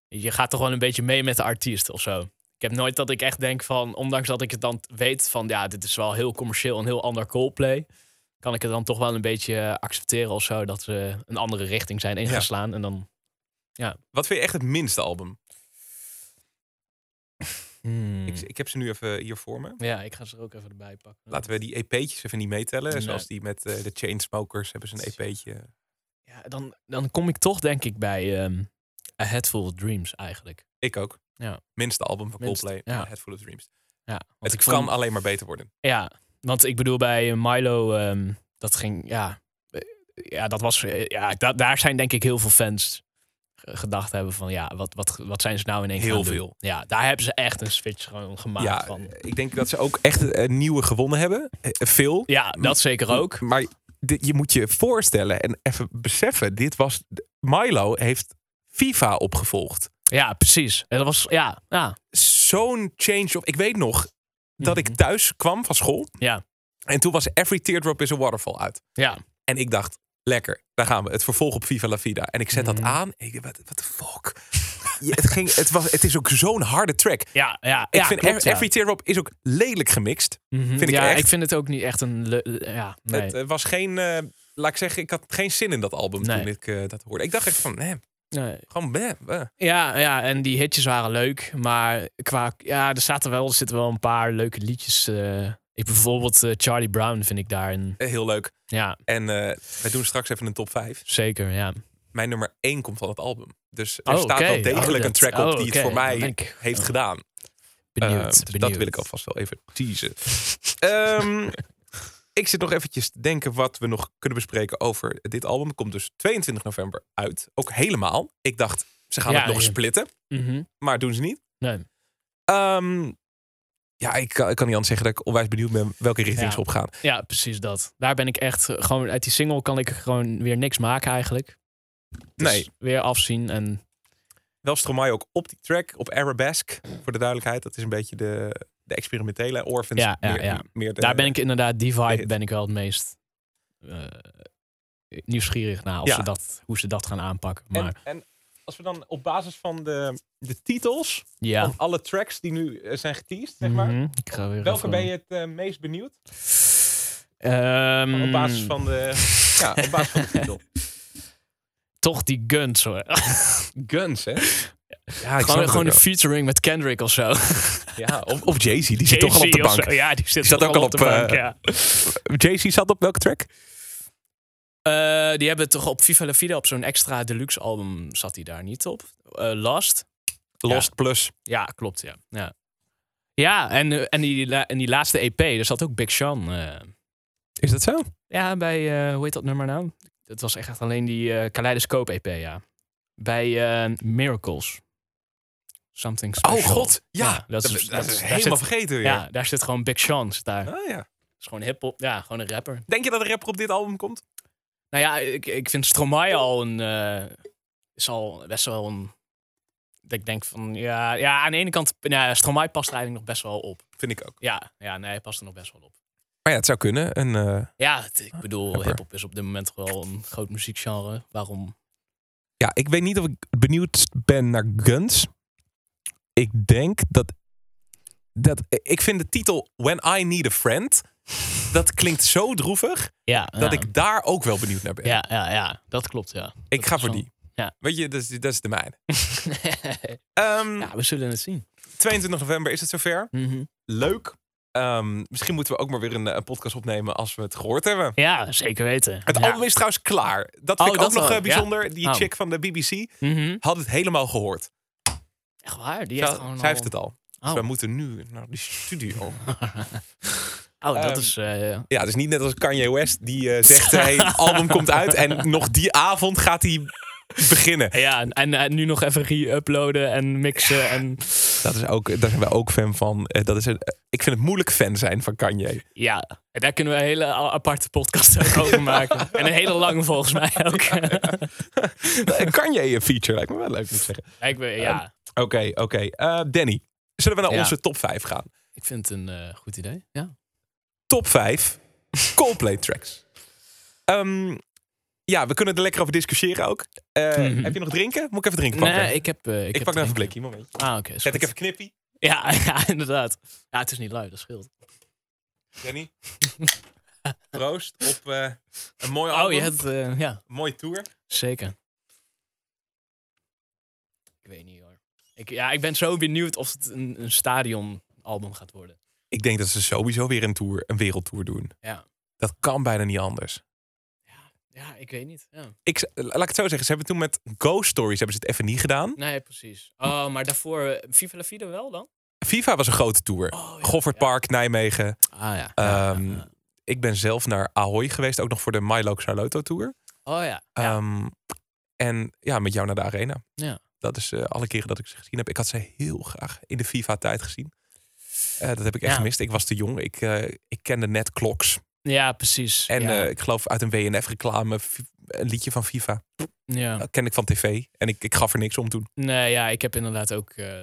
Je gaat toch wel een beetje mee met de artiest of zo. Ik heb nooit dat ik echt denk van, ondanks dat ik het dan weet van... Ja, dit is wel heel commercieel en heel ander Coldplay. Kan ik het dan toch wel een beetje eh, accepteren of zo. Dat ze een andere richting zijn ingeslaan. En dan...
Wat vind je echt het minste album?
Hmm.
Ik, ik heb ze nu even hier voor me.
Ja, ik ga ze er ook even erbij pakken.
Laten we die EP'tjes even niet meetellen.
Nee.
Zoals die met eh, de Chainsmokers hebben ze een E EP'tje.
Ja, dan, dan kom ik toch denk ik bij ehm A Head Full of Dreams eigenlijk.
Ik ook.
Ja.
Minste album van
Minst,
Coldplay.
ja.
Head Full of Dreams.
Ja, want
het
ik
kan
vond-
alleen maar beter worden.
Ja, want ik bedoel bij eh, Milo, ehm, dat ging, ja, eh, ja, dat was, eh, ja, da- daar zijn denk ik heel veel fans ge- gedacht hebben van, ja, wat, wat, wat zijn ze nou in één keer
Heel
aan het doen?
veel.
Ja, daar hebben ze echt een switch gewoon gemaakt
ja, eh,
van.
ik denk dat ze ook echt eh, nieuwe gewonnen hebben. Eh, eh, veel.
Ja, dat zeker ook.
Maar dit- je moet je voorstellen en even beseffen. Dit was... Milo heeft FIFA opgevolgd.
Ja, precies. En Dat was, ja, ja,
Zo'n change of... Ik weet nog dat ik thuis kwam van school.
Ja.
En toen was Every Teardrop is a Waterfall uit.
ja.
En ik dacht, lekker, daar gaan we. Het vervolg op Viva La Vida. En ik zet dat aan. En ik dacht, wat de fuck? Ja, het, ging, het, was, het is ook zo'n harde track.
Ja, ja,
Ik
ja,
vind
klopt,
Ev-
ja.
Every Tear Up is ook lelijk gemixt.
Mhm.
vind ik
ja,
echt-
ik vind het ook niet echt een, le- le- ja, nee.
Het eh, was geen, eh, laat ik zeggen, ik had geen zin in dat album
Nee.
toen ik eh, dat hoorde. Ik dacht echt van, nee,
nee.
gewoon meh, eh.
Ja, ja, en die hitjes waren leuk. Maar qua, ja, er, zaten wel, er zitten wel een paar leuke liedjes. eh. ik bijvoorbeeld eh, Charlie Brown vind ik daar een.
Eh, heel leuk.
Ja,
En eh, wij doen straks even een top 5.
zeker. Ja.
Mijn nummer 1 komt van het album. Dus er
Oh,
staat
oké.
wel degelijk
Oh, dat-
een track op
oh,
die
oké.
het voor
Dan ben
mij
ik oh,
heeft gedaan.
Benieuwd,
Eh, dus Dat
benieuwd.
wil ik alvast wel even teasen. Ehm, ik zit nog eventjes te denken wat we nog kunnen bespreken over dit album. Komt dus 22 november uit. Ook helemaal. Ik dacht, ze gaan
Ja,
het nog
ja.
splitten.
Mhm.
Maar doen ze niet.
Nee.
Ehm, ja, ik, kan- ik kan niet anders zeggen dat ik onwijs benieuwd ben welke richting
Ja.
ze opgaan.
Ja, precies dat. Daar ben ik echt eh, gewoon uit die single kan ik gewoon weer niks maken eigenlijk. Dus
Nee,
Weer afzien en
wel Stromae ook op die track, op Arabesque. Voor de duidelijkheid, dat is een beetje de, de experimentele Orphans.
Ja, ja,
meer,
ja.
meer de-
daar ben ik inderdaad die
de
vibe
hit.
ben ik wel het meest eh, nieuwsgierig naar of
Ja.
ze dat, hoe ze dat gaan aanpakken. Maar
En, en als we dan op basis van de, de titels...
ja.
van alle tracks die nu eh, zijn geteased, oh, zeg maar.
Mhm. Ik ga weer
Welke
even-
ben je het eh, meest benieuwd?
Ehm,
Op
Mm.
basis van de, ja, op basis van de titel.
Toch die guns hoor.
Guns, hè? Ja, ik
gewoon gewoon een featuring met Kendrick of zo.
Ja, of, of Jay-Z, die zit toch al op
Jay-Z
de
of
bank.
zo. Ja, die zit,
zat
toch
ook
al
al
op de
op,
bank,
eh,
ja.
Jay-Z zat op welke track?
Eh, die hebben toch op Viva La Vida op zo'n extra deluxe album zat hij daar niet op. Eh, Last.
Lost Plus.
Ja, klopt, ja. Ja, ja en, eh, en, die, la- en die laatste EP, daar zat ook Big Sean. eh,
Is dat zo?
ja, bij, eh, hoe heet dat nummer nou? Dat was echt alleen die eh Kaleidoscope EP, ja. Bij eh, Miracles. Something
Oh
special.
god, ja.
Ja,
dat,
dat is-
is,
dat is- daar
helemaal
zit-
vergeten weer.
Ja, daar zit gewoon Big Sean. Zit daar.
Ah, ja.
is gewoon hip-hop. Ja, gewoon een rapper.
Denk je dat een rapper op dit album komt?
Nou ja, ik, ik vind Stromae al een. eh, is al best wel een dat ik denk van, ja, ja aan de ene kant, nou, Stromae past er eigenlijk nog best wel op.
Vind ik ook.
Ja, ja, nee, hij past er nog best wel op.
Maar ja, het zou kunnen. Een, eh,
Ja, het- ik bedoel,
Rapper.
hip-hop is op dit moment wel een groot muziekgenre. Waarom?
ja, ik weet niet of ik benieuwd ben naar Guns. Ik denk dat, dat... Ik vind de titel When I Need a Friend... Dat klinkt zo droevig
Ja,
dat ik daar ook wel benieuwd naar ben.
Ja, ja, ja, dat klopt, ja.
ik ga
is
voor
wel-
die.
ja.
Weet je, dat is, dat is de mijne. Ehm,
ja, we zullen het zien.
22 november is het zover.
Mhm.
Leuk. Ehm, misschien moeten we ook maar weer een, eh, een podcast opnemen als we het gehoord hebben.
Ja, zeker weten.
Het
ja.
album is trouwens klaar. Dat
Oh,
vind ik ook
dat
nog
wel,
eh, bijzonder. Die
Oh.
chick van de BBC
Mhm.
had het helemaal gehoord.
Echt waar, die heeft
Zij,
gewoon
zij
al-
heeft het al.
Oh.
Dus we moeten nu naar die studio.
Oh, dat
Ehm,
is... eh, ja.
Ja, dus niet net als Kanye West die eh, zegt... hey, het album komt uit en nog die avond gaat hij beginnen.
ja, en, en, en nu nog even re-uploaden en mixen en...
Dat is ook, daar zijn wij ook fan van. Eh, dat is een, eh, ik vind het moeilijk fan zijn van Kanye.
Ja, daar kunnen we een hele a- aparte podcast ook over maken. En een hele lange volgens mij ook.
Een Kanye feature Eh, lijkt me wel leuk, moet ik zeggen.
Ja, ik, weet- ja,
Oké, oké. Eh, Danny, zullen we naar
Ja.
onze top 5 gaan?
ik vind het een eh, goed idee. Ja.
top 5 Coldplay tracks. Ehm, ja, we kunnen er lekker over discussiëren ook. Eh,
Mhm.
Heb je nog drinken? Moet ik even drinken pakken?
Nee, ik heb... eh,
ik
heb
pak nog even een
drinken.
blikje, moment.
Ah, oké. is
Zet ik
goed.
even knippie.
ja, ja, inderdaad. Ja, het is niet lui, dat scheelt.
Danny. Proost op eh, een mooi album,
Oh, je hebt... eh, ja,
een mooie tour.
zeker. Ik weet niet hoor. Ik, ja, ik ben zo benieuwd of het een, een stadionalbum gaat worden.
Ik denk dat ze sowieso weer een tour, een wereldtour doen.
Ja.
Dat kan bijna niet anders.
Ja, ik weet niet. Ja.
Ik, z- laat ik het zo zeggen, ze hebben toen met Ghost Stories hebben ze het even niet gedaan.
Nee, precies. Oh, maar daarvoor... eh, Viva la Vida wel dan?
FIFA was een grote tour.
Oh, ja,
Goffert
ja.
Park, Nijmegen.
Ah ja.
Ehm, Ik ben zelf naar Ahoy geweest, ook nog voor de Milo Xyloto tour.
Oh ja.
Ehm, en ja, met jou naar de arena.
Ja.
Dat is eh, alle keren dat ik ze gezien heb. Ik had ze heel graag in de FIFA-tijd gezien. Eh, dat heb ik echt
Ja.
gemist. Ik was te jong. Ik, eh, ik kende net Kloks.
ja, precies.
En
ja.
eh, ik geloof uit een WNF-reclame een liedje van FIFA.
ja.
Dat ken ik van tv. En ik, ik gaf er niks om toen.
Nee, ja, ik heb inderdaad ook eh,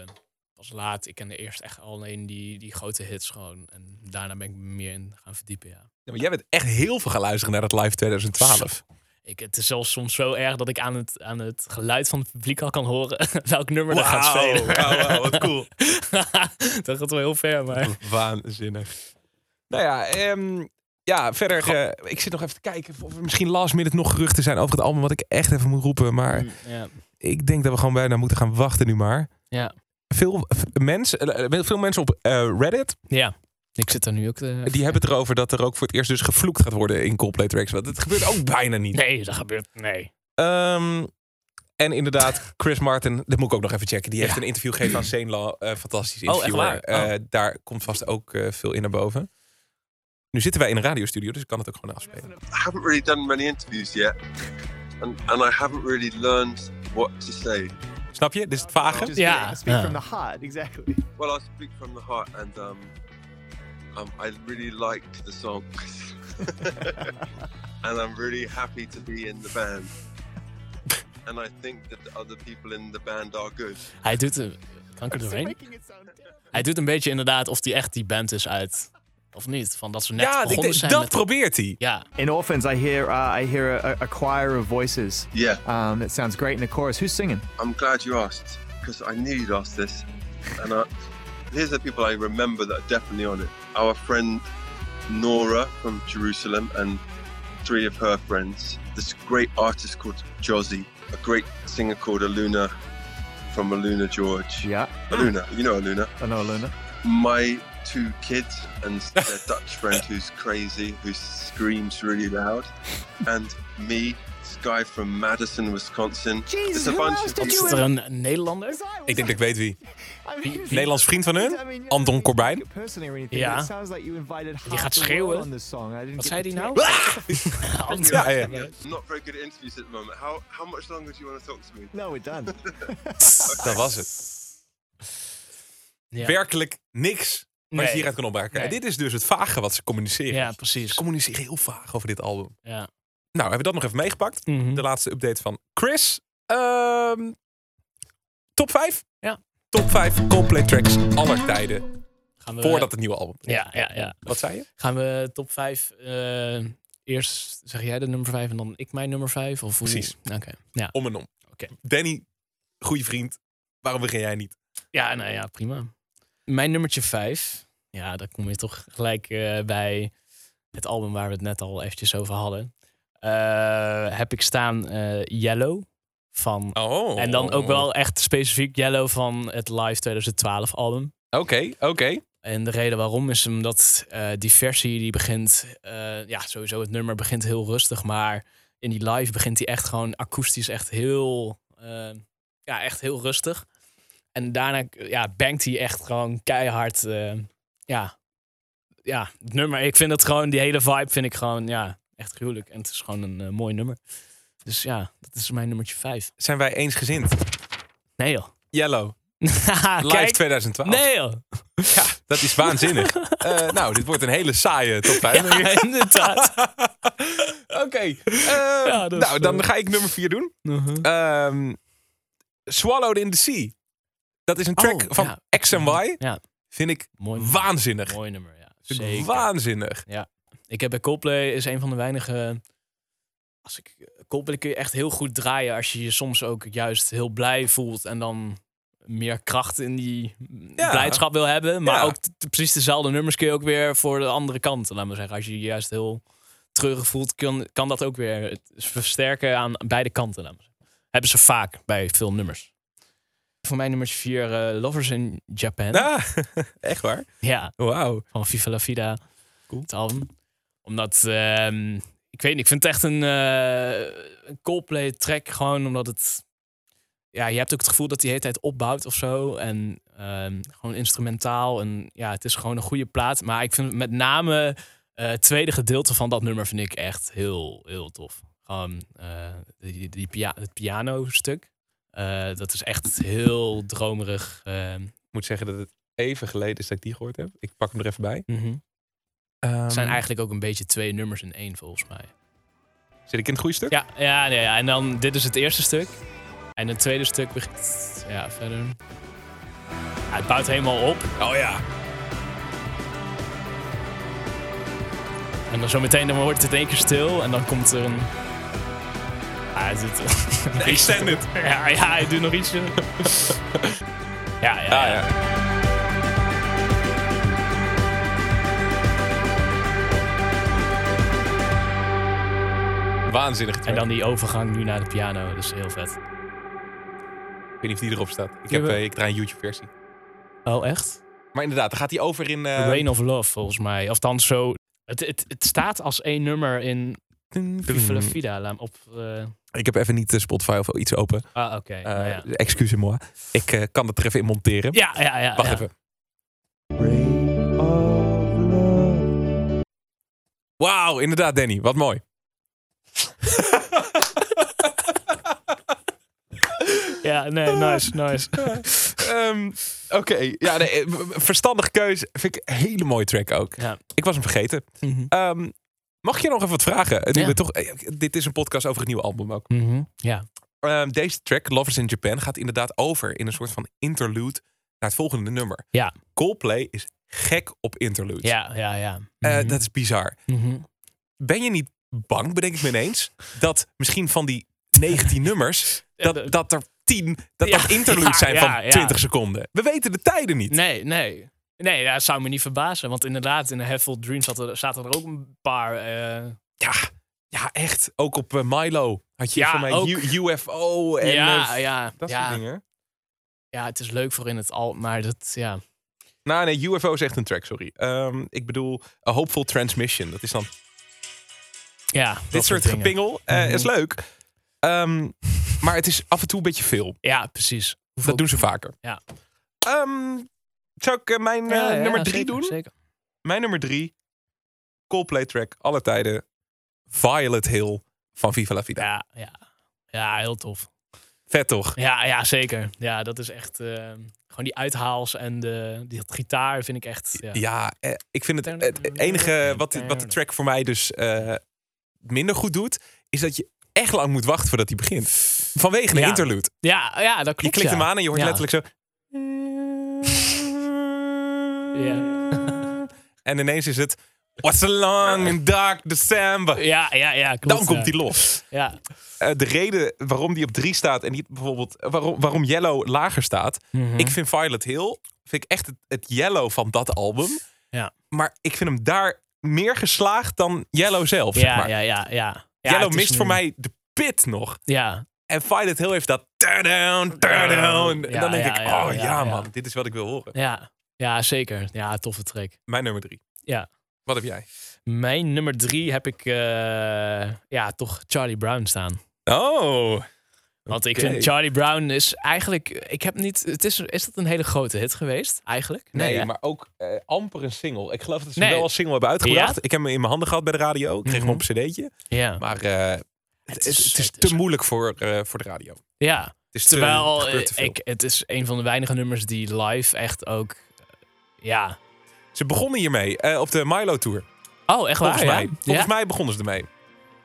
pas laat. Ik kende eerst echt alleen die, die grote hits gewoon. En daarna ben ik me meer in gaan verdiepen, ja.
Ja, maar jij bent echt heel veel gaan luisteren naar dat live 2012.
Ik, het is zelfs soms zo erg dat ik aan het, aan het geluid van het publiek al kan horen welk nummer er gaat
Wauw,
spelen.
wauw, wauw, wat cool.
dat gaat wel heel ver, maar...
Waanzinnig. Nou ja, ehm, ja verder. eh, ik zit nog even te kijken of er misschien last minute nog geruchten zijn over het album. Wat ik echt even moet roepen.
Mm.
Maar
Ja.
ik denk dat we gewoon bijna moeten gaan wachten nu maar.
Ja.
Veel, v- mensen, eh, eh, veel mensen op eh, Reddit
ja, ik zit er nu ook... eh, te-
die hebben het erover dat er ook voor het eerst dus gevloekt gaat worden in Coldplay Tracks. Want het gebeurt ook bijna niet.
Nee, dat gebeurt... Nee.
Ehm, en inderdaad, Chris Martin, dat moet ik ook nog even checken. Die heeft een interview gegeven aan Zane Law. eh, fantastisch
Oh, echt
interviewer.
waar? Oh.
Eh, daar komt vast ook eh, veel in naar boven. Nu zitten wij in een radiostudio, dus ik kan het ook gewoon afspelen.
I haven't really done many interviews yet, and, and I haven't really learned what to say.
Snap je? Dit is het vage.
Just
Yeah.
Speak
Yeah.
from the heart, exactly.
Well, I speak from the heart, and um, um, I really liked the songs, and I'm really happy to be in the band. And I think that the other people in the band are good.
Hij doet... een- Kan ik er doorheen?
Making it sound terrible.
Hij doet een beetje inderdaad of die echt die band is uit. Of niet? Van dat ze net
Ja, ik
begonnen
denk-
zijn
dat
met...
probeert hij.
Ja,
In Orphans, I hear uh, I hear a, a choir of voices.
Yeah,
Um, that sounds great in the chorus. Who's singing?
I'm glad you asked because I knew you'd ask this. And I, here's the people I remember that are definitely on it. Our friend Nora from Jerusalem and three of her friends. This great artist called Josie, a great singer called Aluna from Aluna George.
Yeah,
Aluna, you know Aluna.
I know Luna.
My two kids and their Dutch friend who's crazy, who screams really loud, and me, this guy from Madison, Wisconsin.
Jesus,
It's a
who
bunch
else
of
did
people.
you
Is er een een Nederlander?
Ik denk dat ik weet wie.
I mean, it's-
Nederlands vriend van hun?
I mean, you're
Anton
not
Corbijn.
like a person or anything,
Ja.
but it sounds like you invited half
gaat
the world
schreeuwen.
on this song. I didn't
Wat
get
zei
the
die nou?
text.
Ah! Ja, ja.
I'm not very good at interviews at the moment. How how much longer do you want to talk to me?
No, we're done.
Dat was het.
Ja.
Werkelijk niks wat
Nee.
je hieruit kan opmaken.
Nee.
En dit is dus het vage wat ze communiceren.
Ja,
Ze
precies.
communiceren heel vaag over dit album.
Ja. Mhm.
Nou, hebben we dat nog even meegepakt. De laatste update van Chris. Ehm, Top 5?
Ja.
Top 5 Coldplay tracks aller tijden.
Gaan we,
Voordat het nieuwe album.
Ja, ja, ja.
Wat zei je?
Gaan we top 5. eerst zeg jij de nummer 5 en dan ik mijn nummer 5? Of hoe?
Precies.
Oké. Ja.
Om en om.
Oké.
Danny, goede vriend. Waarom begin jij niet?
ja, nou ja, prima. Mijn nummertje 5. Ja, daar kom je toch gelijk eh, bij het album waar we het net al eventjes over hadden. Eh, heb ik staan eh, Yellow van.
Oh.
En dan ook wel echt specifiek Yellow van het Live 2012 album.
Oké, oké.
En de reden waarom is omdat eh, die versie die begint, eh, ja, sowieso het nummer begint heel rustig, maar in die live begint hij echt gewoon akoestisch echt heel, eh, ja, echt heel rustig. En daarna, ja, bangt hij echt gewoon keihard, eh, ja, ja, het nummer. Ik vind het gewoon, die hele vibe vind ik gewoon, ja, echt gruwelijk. En het is gewoon een eh, mooi nummer. Dus ja, dat is mijn nummertje vijf.
Zijn wij eensgezind?
Nee joh.
Yellow. Live
Ah, Kijk.
2012.
Nee joh.
Ja, dat is waanzinnig. Eh, nou, dit wordt een hele saaie top 5.
Ja, inderdaad.
Oké. eh,
dat is, eh,
nou, dan ga ik nummer 4 doen. Ehm, Swallowed in the Sea. Dat is een track
Oh,
van
ja.
X en Y.
Ja.
Vind ik
Mooi.
waanzinnig.
Mooi nummer, ja.
Vind ik
Zeker.
Waanzinnig.
Ik heb bij Coldplay is een van de weinige. Als ik Coldplay kun je echt heel goed draaien als je je soms ook juist heel blij voelt en dan meer kracht in die
Ja.
blijdschap wil hebben, maar
Ja.
ook t- t- precies dezelfde nummers kun je ook weer voor de andere kant. Laat maar zeggen, als je je juist heel treurig voelt, kan, kan dat ook weer het versterken aan beide kanten. Laat maar zeggen. Hebben ze vaak bij veel nummers. Voor mij nummer vier, eh, Lovers in Japan.
Ah, echt waar?
Ja
Wauw.
van Viva La Vida. Het album. Omdat, ehm, ik weet niet, ik vind het echt een, eh een Coldplay track. Gewoon omdat het, ja, je hebt ook het gevoel dat hij de hele tijd opbouwt of zo. En ehm, gewoon instrumentaal. En ja, het is gewoon een goede plaat. Maar ik vind met name eh, het tweede gedeelte van dat nummer vind ik echt heel, heel tof. Gewoon eh, die, die pia- het piano stuk. dat is echt heel dromerig. ehm.
Ik moet zeggen dat het even geleden is dat ik die gehoord heb. Ik pak hem er even bij. Ehm,
Het zijn eigenlijk ook een beetje twee nummers in één volgens mij.
Zit ik in het goede stuk?
Ja, ja, nee, ja. en dan dit is het eerste stuk. En het tweede stuk begint. Ja, verder. Ja, het bouwt helemaal op.
Oh ja.
En dan zometeen dan wordt het in één keer stil. En dan komt er een. Ja, het zit-
Ik stand het.
ja, ja, hij doet nog iets. ja, ja, ja.
Ah, ja. Waanzinnig.
En
track.
dan die overgang nu naar de piano. Dat is heel vet.
Ik weet niet of die erop staat. Ik, heb,
Jawel.
eh, ik draai een YouTube-versie.
Oh, echt?
Maar inderdaad, dan gaat hij over in... eh,
Rain of Love, volgens mij. Althans, zo. Het, het, het staat als één nummer in Viva
Hmm.
la Vida. Laat me op. eh,
Ik heb even niet de Spotify of iets open.
Ah, oké.
Eh
nou ja.
Excuse-moi. Ik eh, kan dat er even in monteren.
ja, ja, ja.
Wacht
ja.
even. Wauw, inderdaad, Danny. Wat mooi.
Ja, nee,
Ah.
nice, nice.
Ehm, Oké, ja, nee, eh, verstandige keus. Vind ik een hele mooie track ook.
Ja.
Ik was hem vergeten.
Mhm.
Ehm, mag ik je nog even wat vragen? Nu
Ja.
we toch, eh, dit is een podcast over het nieuwe album ook.
Mhm. Ja.
Ehm, deze track, Lovers in Japan, gaat inderdaad over in een soort van interlude naar het volgende nummer.
Ja.
Coldplay is gek op interludes.
ja, ja, ja. Mhm.
Eh, Dat is bizar. Ben je niet bang, bedenk ik me ineens, dat misschien van die 19 nummers, dat, dat er 10, dat
Ja,
dat interludes zijn
ja,
van
ja, ja.
20 seconden. We weten de tijden niet.
Nee, nee. Nee, dat zou me niet verbazen. Want inderdaad, in de Headful Dreams zaten er, zaten er ook een paar. eh,
Ja, ja, echt. Ook op eh, Milo had je
Ja,
voor mij
ook.
U- UFO en
ja,
eh,
ja,
dat soort
ja,
dingen.
ja, het is leuk voor in het al, maar dat, ja.
Nou nee, UFO is echt een track, sorry. Ehm, ik bedoel, A Hopeful Transmission. Dat is dan
ja
dit soort
dingen. Mhm.
gepingel. Eh, Is leuk. Ehm, maar het is af en toe een beetje veel.
Ja, precies.
Dat doen ze vaker.
Ja.
Ehm, zou ik eh, mijn eh,
Ja, ja,
nummer drie
zeker,
doen?
Zeker.
Mijn nummer drie. Coldplay track, alle tijden. Violet Hill van Viva La Vida.
Ja, ja. Ja, heel tof.
Vet toch?
Ja, ja, zeker. Ja, dat is echt. eh, gewoon die uithaals en de, die gitaar vind ik echt. Ja.
Ja, eh, ik vind het, het enige wat, wat de track voor mij dus eh, minder goed doet, is dat je echt lang moet wachten voordat hij begint. Vanwege een
Ja.
interlude.
Ja, ja, dat
Je
klopt.
klikt
ja.
hem aan en je hoort
Ja.
letterlijk zo.
Ja.
En ineens is het. What's a long and dark December.
Ja, ja, ja. Klopt,
Dan komt
ja.
die los.
Ja.
Eh, de reden waarom die op 3 staat en niet bijvoorbeeld eh, waarom, waarom Yellow lager staat.
Mhm.
Ik vind Violet Hill vind ik echt het, het Yellow van dat album.
Ja.
Maar ik vind hem daar meer geslaagd dan Yellow zelf. zeg
Ja,
maar.
ja, ja, ja. Ja,
Yellow
het is
mist
een-
voor mij de pit nog.
Ja,
En Violet Hill heeft dat. Turn down, turn down. En
Ja,
dan denk
ja,
ik,
ja,
oh ja,
ja, ja.
man, dit is wat ik wil horen.
ja. Ja, zeker. Ja, toffe track.
Mijn nummer drie.
Ja.
Wat heb jij?
Mijn nummer drie heb ik eh, ja, toch Charlie Brown staan.
Oh.
Want ik
Oké.
vind Charlie Brown is eigenlijk... Ik heb niet... Het is, is dat een hele grote hit geweest, eigenlijk?
Nee,
hè?
maar ook eh, amper een single. Ik geloof dat ze
Nee.
hem wel als single hebben uitgebracht. Ik heb hem in mijn handen gehad bij de radio. Ik kreeg hem
Mhm.
op een cd'tje.
Ja.
Maar eh, het, het is, te moeilijk voor, eh, voor de radio. Het
Ja.
is te- er
dus- Terwijl
gebeurt te
eh,
veel.
ik, het is een van de weinige nummers die live echt ook... eh, Ja.
Ze begonnen hiermee eh, op de Milo Tour.
Oh, echt
Volgens
waar,
mij.
ja?
Volgens
Ja?
mij begonnen ze ermee.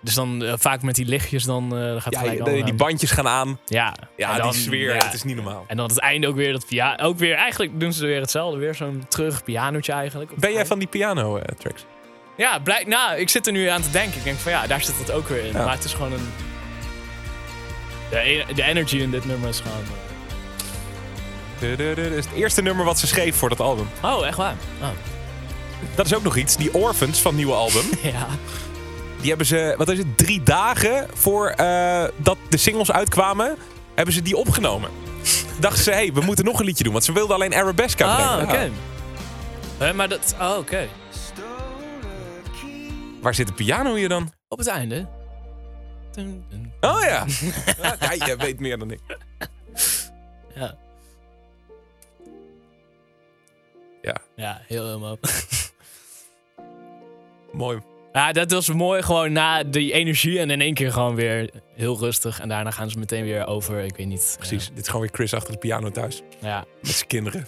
Dus dan eh, vaak met die lichtjes, dan eh, gaat het
Ja,
gelijk
de-
allemaal
die
aan.
bandjes gaan aan.
Ja,
Ja,
En dan-
die sfeer.
ja.
Het is niet normaal.
En dan het einde ook weer dat ja, ook weer eigenlijk doen ze weer hetzelfde, weer zo'n terug pianootje eigenlijk. op
Ben
het
jij
einde.
van die piano eh, tracks?
Ja, blijk, nou, ik zit er nu aan te denken. Ik denk van ja, daar zit dat ook weer in. Maar het is gewoon een de, e- de energy in dit nummer is gewoon. eh,
Du- du- du- Dat is het eerste nummer wat ze schreef voor dat album.
Oh, echt waar? Oh.
Dat is ook nog iets. Die Orphans van het nieuwe album.
Ja.
Die hebben ze, wat is het, drie dagen voor eh, dat de singles uitkwamen, hebben ze die opgenomen. Dachten ze, hé, hey, we moeten nog een liedje doen, want ze wilden alleen Arabesque
Oh,
uitbrengen.
oké. Hè, maar dat oh, oké.
Nou, waar zit de piano hier dan?
Op het einde. Dun, dun.
Oh ja. ja, jij weet meer dan ik.
Ja.
Ja.
Ja, heel helemaal.
Mooi.
Ja, dat was mooi. Gewoon na die energie en in één keer gewoon weer heel rustig. En daarna gaan ze meteen weer over. Ik weet niet.
Precies. Dit is gewoon weer Chris achter de piano thuis.
Ja. ja.
Met zijn kinderen.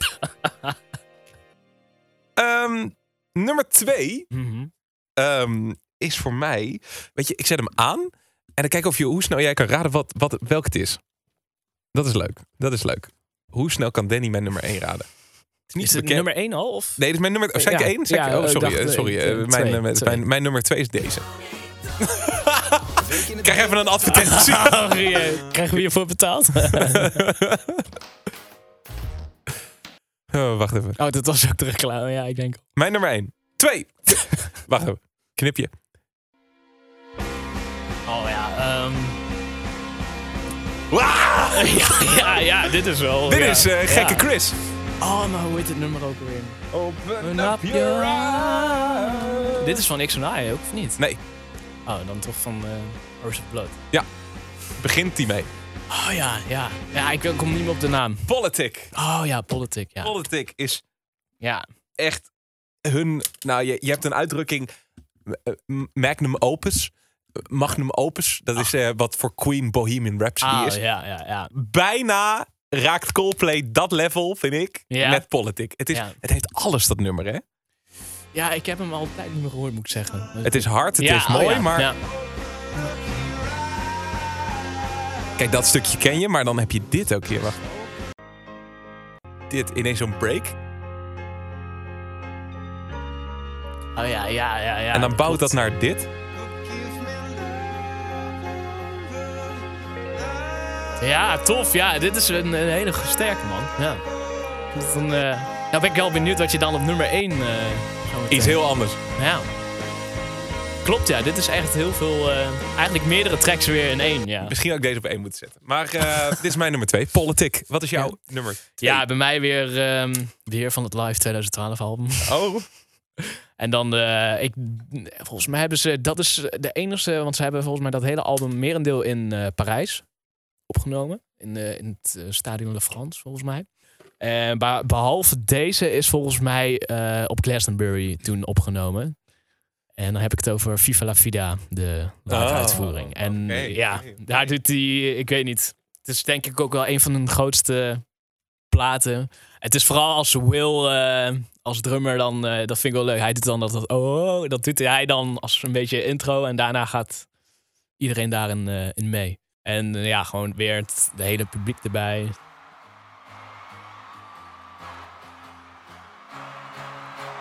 Ehm, nummer twee
Mhm.
ehm, is voor mij... Weet je, ik zet hem aan en dan kijk of je, hoe snel jij kan raden wat, wat, welk het is. Dat is leuk. Dat is leuk. Hoe snel kan Danny mijn nummer 1 raden? Het is niet
Is
zo
het
bekend.
nummer 1 al? Of?
Nee, dit is mijn nummer... Oh, zei ik
Ja.
één? Zei ik-
Ja,
oh,
eh,
sorry.
dacht,
eh,
eh,
sorry. eh,
twee,
mijn,
twee,
eh, mijn,
twee.
Mijn, mijn nummer 2 is deze. Krijg even een advertentie.
Sorry, Oh, eh, krijgen we hiervoor betaald?
Oh, wacht even.
Oh, dat was ook de reclame. Ja, ik denk.
Mijn nummer 1. 2. wacht even. Knipje.
Oh ja. ehm. ja, ja, ja, Ah, dit is wel.
Dit
ja.
is eh, Gekke
Ja.
Chris.
Oh, maar hoe heet dit nummer ook weer?
Open
up your Dit is van X&I ook, of niet?
Nee,
Oh, dan toch van eh Horse of Blood.
begint die mee.
Oh ja, ja. Ja, ik kom niet meer op de naam.
Politic.
Oh ja, Politic, ja.
Politic is
Ja,
echt hun... Nou, je, je hebt een uitdrukking... eh, m- Magnum opus. Eh, Magnum opus. Dat is eh, wat voor Queen Bohemian Rhapsody
Ah,
is.
ja, ja, ja.
bijna raakt Coldplay dat level, vind ik,
Ja.
met Politic. Het, is,
Ja.
het heeft alles, dat nummer, hè?
Ja, ik heb hem al een tijd niet meer gehoord, moet ik zeggen.
Het is hard, het
Ja,
is
oh
mooi,
ja,
maar...
ja.
Kijk, dat stukje ken je, maar dan heb je dit ook hier. Wacht. Dit, ineens zo'n break.
Oh ja, ja, ja, ja.
en dan bouwt dat naar dit.
Ja, tof. Ja, dit is een, een hele sterke, man. Ja. Dus dan, eh, nou ben ik wel benieuwd wat je dan op nummer 1
Iets heel anders.
Ja. Klopt, ja. Dit is echt heel veel... eh, eigenlijk meerdere tracks weer in één, ja.
Misschien had ik deze op één moeten zetten. Maar eh, dit is mijn nummer twee. Politic. Wat is jouw nummer twee?
Ja, bij mij weer, ehm, weer van het Live 2012 album.
Oh,
En dan, eh, ik, volgens mij hebben ze, dat is de enige, want ze hebben volgens mij dat hele album merendeel in eh, Parijs opgenomen. In, eh, in het eh, Stadion Le France, volgens mij. En ba- behalve deze is volgens mij eh, op Glastonbury toen opgenomen. En dan heb ik het over Viva la Vida, de live
Oh,
uitvoering. En
oké,
ja,
oké.
daar doet hij, ik weet niet. Het is denk ik ook wel een van hun grootste platen. Het is vooral als Will eh, als drummer dan, eh, dat vind ik wel leuk. Hij doet dan dat, dat oh, dat doet hij dan als een beetje intro en daarna gaat iedereen daarin eh, in mee. En eh, ja, gewoon weer het de hele publiek erbij.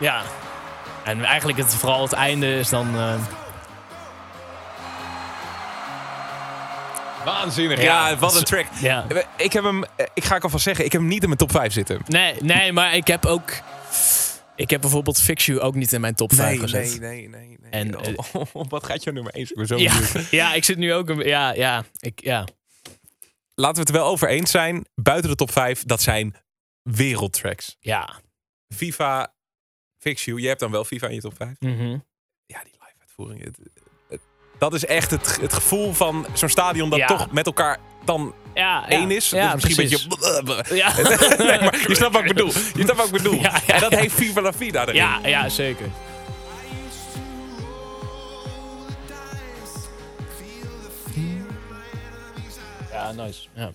Ja. En eigenlijk het, vooral het einde is dan... eh,
Waanzinnig. Ja,
Ja,
wat
dat
een
is-
track.
ja.
Ik heb hem, eh, ik ga ik alvast zeggen, ik heb hem niet in mijn top 5 zitten.
Nee, nee, maar ik heb ook... Ik heb bijvoorbeeld Fix You ook niet in mijn top 5 gezet.
nee, nee. nee.
En, eh,
Oh, wat gaat jouw nummer 1? Ik ben zo
Ja,
benieuwd.
ja, ik zit nu ook... een- Ja, ja, ik, ja.
Laten we het er wel over eens zijn. Buiten de top 5, dat zijn wereldtracks.
Ja.
FIFA, Fix You. Je hebt dan wel FIFA in je top 5.
Mhm.
Ja, die live uitvoering. het- het- dat is echt het, het gevoel van zo'n stadion dat
Ja.
toch met elkaar dan
ja,
één is.
Ja,
dus misschien
precies.
een beetje...
Ja.
nee, maar je snapt wat ik bedoel. Je snapt wat ik bedoel.
Ja, ja,
en dat
ja.
heeft FIFA La Vida erin.
ja, ja, zeker. Ja, nice. Ja,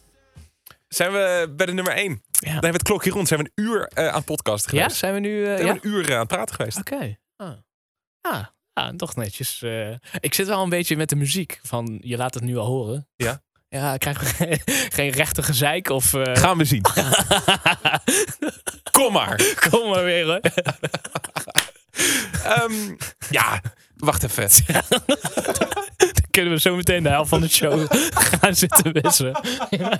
Zijn we bij de nummer 1. Dan hebben we het klokje rond. Zijn we een uur eh, aan podcast geweest.
zijn we nu... eh,
Zijn
ja?
we een uur eh, aan het praten geweest.
Oké. Ah. Ah, ah, toch netjes. eh. ik zit wel een beetje met de muziek van je laat het nu al horen.
Ja.
Ja, ik krijg geen, geen rechte gezeik of... eh,
Gaan we zien. Kom maar.
Kom maar weer, hè.
Ehm, ja, wacht even.
Dan kunnen we zo meteen de helft van de show gaan zitten wissen. Ja,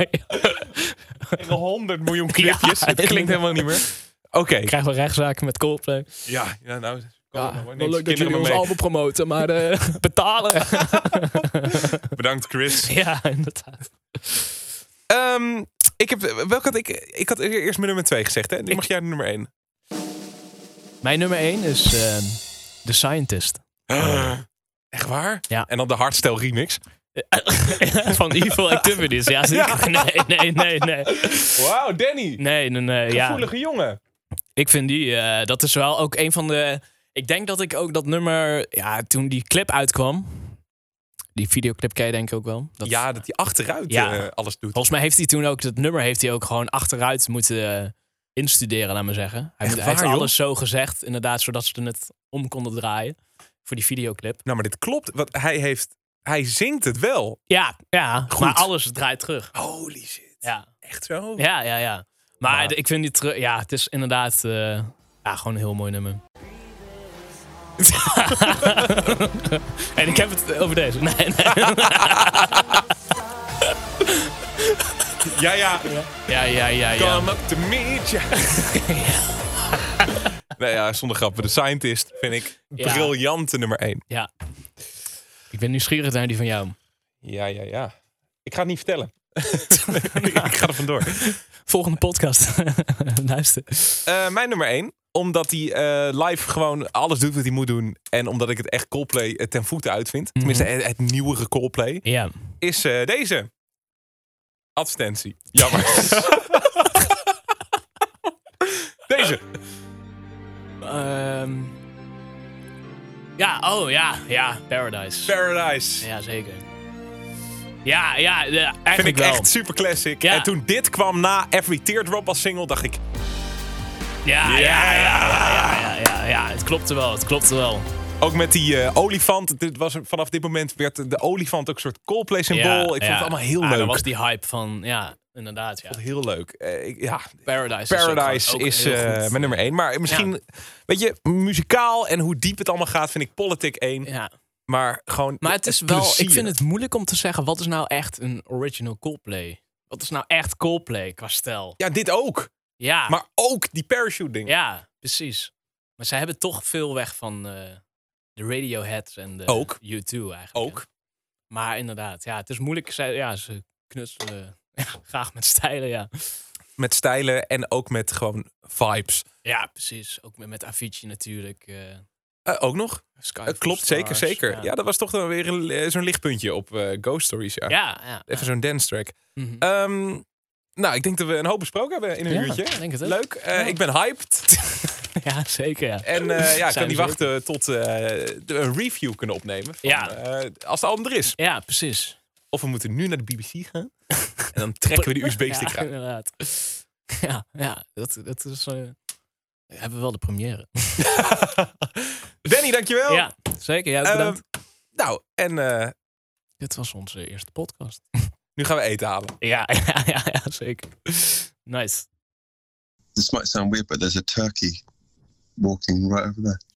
ja.
100 miljoen clipjes. het klinkt helemaal niet meer. Oké.
Ik krijg wel rechtszaken met Coldplay.
Ja, ja, nou.
Ja,
Ja,
wel leuk dat jullie ons album promoten, maar eh, betalen.
Bedankt, Chris.
ja, inderdaad.
Ehm, ik, heb, welke had ik, ik had eerst mijn nummer 2 gezegd, hè? Nu mag jij de nummer 1.
Mijn nummer 1 is eh, The Scientist.
Echt waar?
Oh. Ja.
En dan de hardstyle remix.
Van Evil Activities. Ja, zeker. Nee, nee, nee, nee.
Wauw, Danny.
Nee, nee, nee. Ja.
Gevoelige jongen.
Ik vind die, eh, dat is wel ook een van de. Ik denk dat ik ook dat nummer. Ja, toen die clip uitkwam. Die videoclip ken je denk ik ook wel. Dat,
Ja, dat hij achteruit
Ja.
eh, alles doet.
Volgens mij heeft hij toen ook dat nummer heeft hij ook gewoon achteruit moeten eh, instuderen, laat maar zeggen. Hij,
Echt
hij
waar,
heeft
joh?
alles zo gezegd, inderdaad, zodat ze het om konden draaien voor die videoclip.
Nou, maar dit klopt. Want hij, heeft, hij zingt het wel.
Ja, ja.
Goed.
Maar alles draait terug.
Holy shit.
Ja,
Echt zo?
ja, ja. ja. Maar
Maar-
de- ik vind die terug. Ja, het is inderdaad. eh, ja, gewoon een heel mooi nummer. en ik heb het over deze. Nee, nee.
Ja, ja.
Ja, ja, ja, ja.
Come up to meet you. nee, ja, zonder grappen. De Scientist vind ik
Ja.
briljante nummer 1.
ja. Ik ben nieuwsgierig naar die van jou.
Ja, ja, ja. Ik ga het niet vertellen. ik ga er vandoor.
Volgende podcast. Luister.
Eh, mijn nummer 1. Omdat hij eh, live gewoon alles doet wat hij moet doen. En omdat ik het echt Coldplay eh, ten voeten
Mhm.
uitvind. Tenminste, het, het nieuwere Coldplay.
Ja.
Is eh, deze. Advertentie. Jammer. deze.
Ehm, ja, oh ja, ja. Paradise.
Paradise.
ja, zeker. Ja, ja, ja, eigenlijk
Vind ik
wel.
echt super classic.
Ja.
En toen dit kwam na Every Teardrop als single, dacht ik...
Ja, ja, ja, ja, ja, ja, ja. Het klopte wel, het klopte wel.
Ook met die eh, olifant. Dit was, vanaf dit moment werd de olifant ook een soort Coldplay-symbool.
Ja,
ik vond
ja.
het allemaal heel
Ah,
leuk.
Dat was die hype van, ja, inderdaad, ja.
Heel leuk. Eh, ik, ja,
Paradise,
Paradise is,
met
eh, mijn nummer 1. Maar misschien, weet je, muzikaal en hoe diep het allemaal gaat, vind ik Politic 1.
Ja.
Maar gewoon.
Maar het is wel,
plezier.
ik vind het moeilijk om te zeggen, wat is nou echt een original Coldplay? Wat is nou echt Coldplay qua stijl?
Ja, dit ook.
Ja,
Maar ook die parachute-ding.
ja, precies. Maar zij hebben toch veel weg van eh, de Radiohead en de
Ook.
U2 eigenlijk.
Ook.
Maar inderdaad, ja, het is moeilijk. Zij, ja, ze knutselen graag met stijlen, ja.
Met stijlen en ook met gewoon vibes.
Ja, precies. Ook met, met Avicii natuurlijk. eh,
Eh, ook nog?
Sky
Eh,
for
klopt, zeker,
Stars,
zeker. Ja. dat was toch dan weer een- eh, zo'n lichtpuntje op eh, Ghost Stories. Ja.
Ja, ja.
Even zo'n dance track.
Mhm.
Ehm, nou, ik denk dat we een hoop besproken hebben in een
Ja,
uurtje.
ik denk het ook.
Leuk. Eh, Ik ben hyped.
Ja, zeker. Ja.
En eh, ja, ik kan
Zijn
niet
we
wachten tot eh, de- een review kunnen opnemen. van,
Ja.
eh, als de album er is.
ja, precies.
Of we moeten nu naar de BBC gaan. En dan trekken we de USB-stick
ja,
uit.
inderdaad. Ja, ja dat, dat is. eh, hebben we wel de première.
Danny, dankjewel.
Ja, zeker. Ja,
Eh,
bedankt.
nou, en eh,
Dit was onze eerste podcast.
Nu gaan we eten halen.
Ja, ja, ja, ja, zeker. Nice.
This might sound weird, but there's a turkey walking right over there.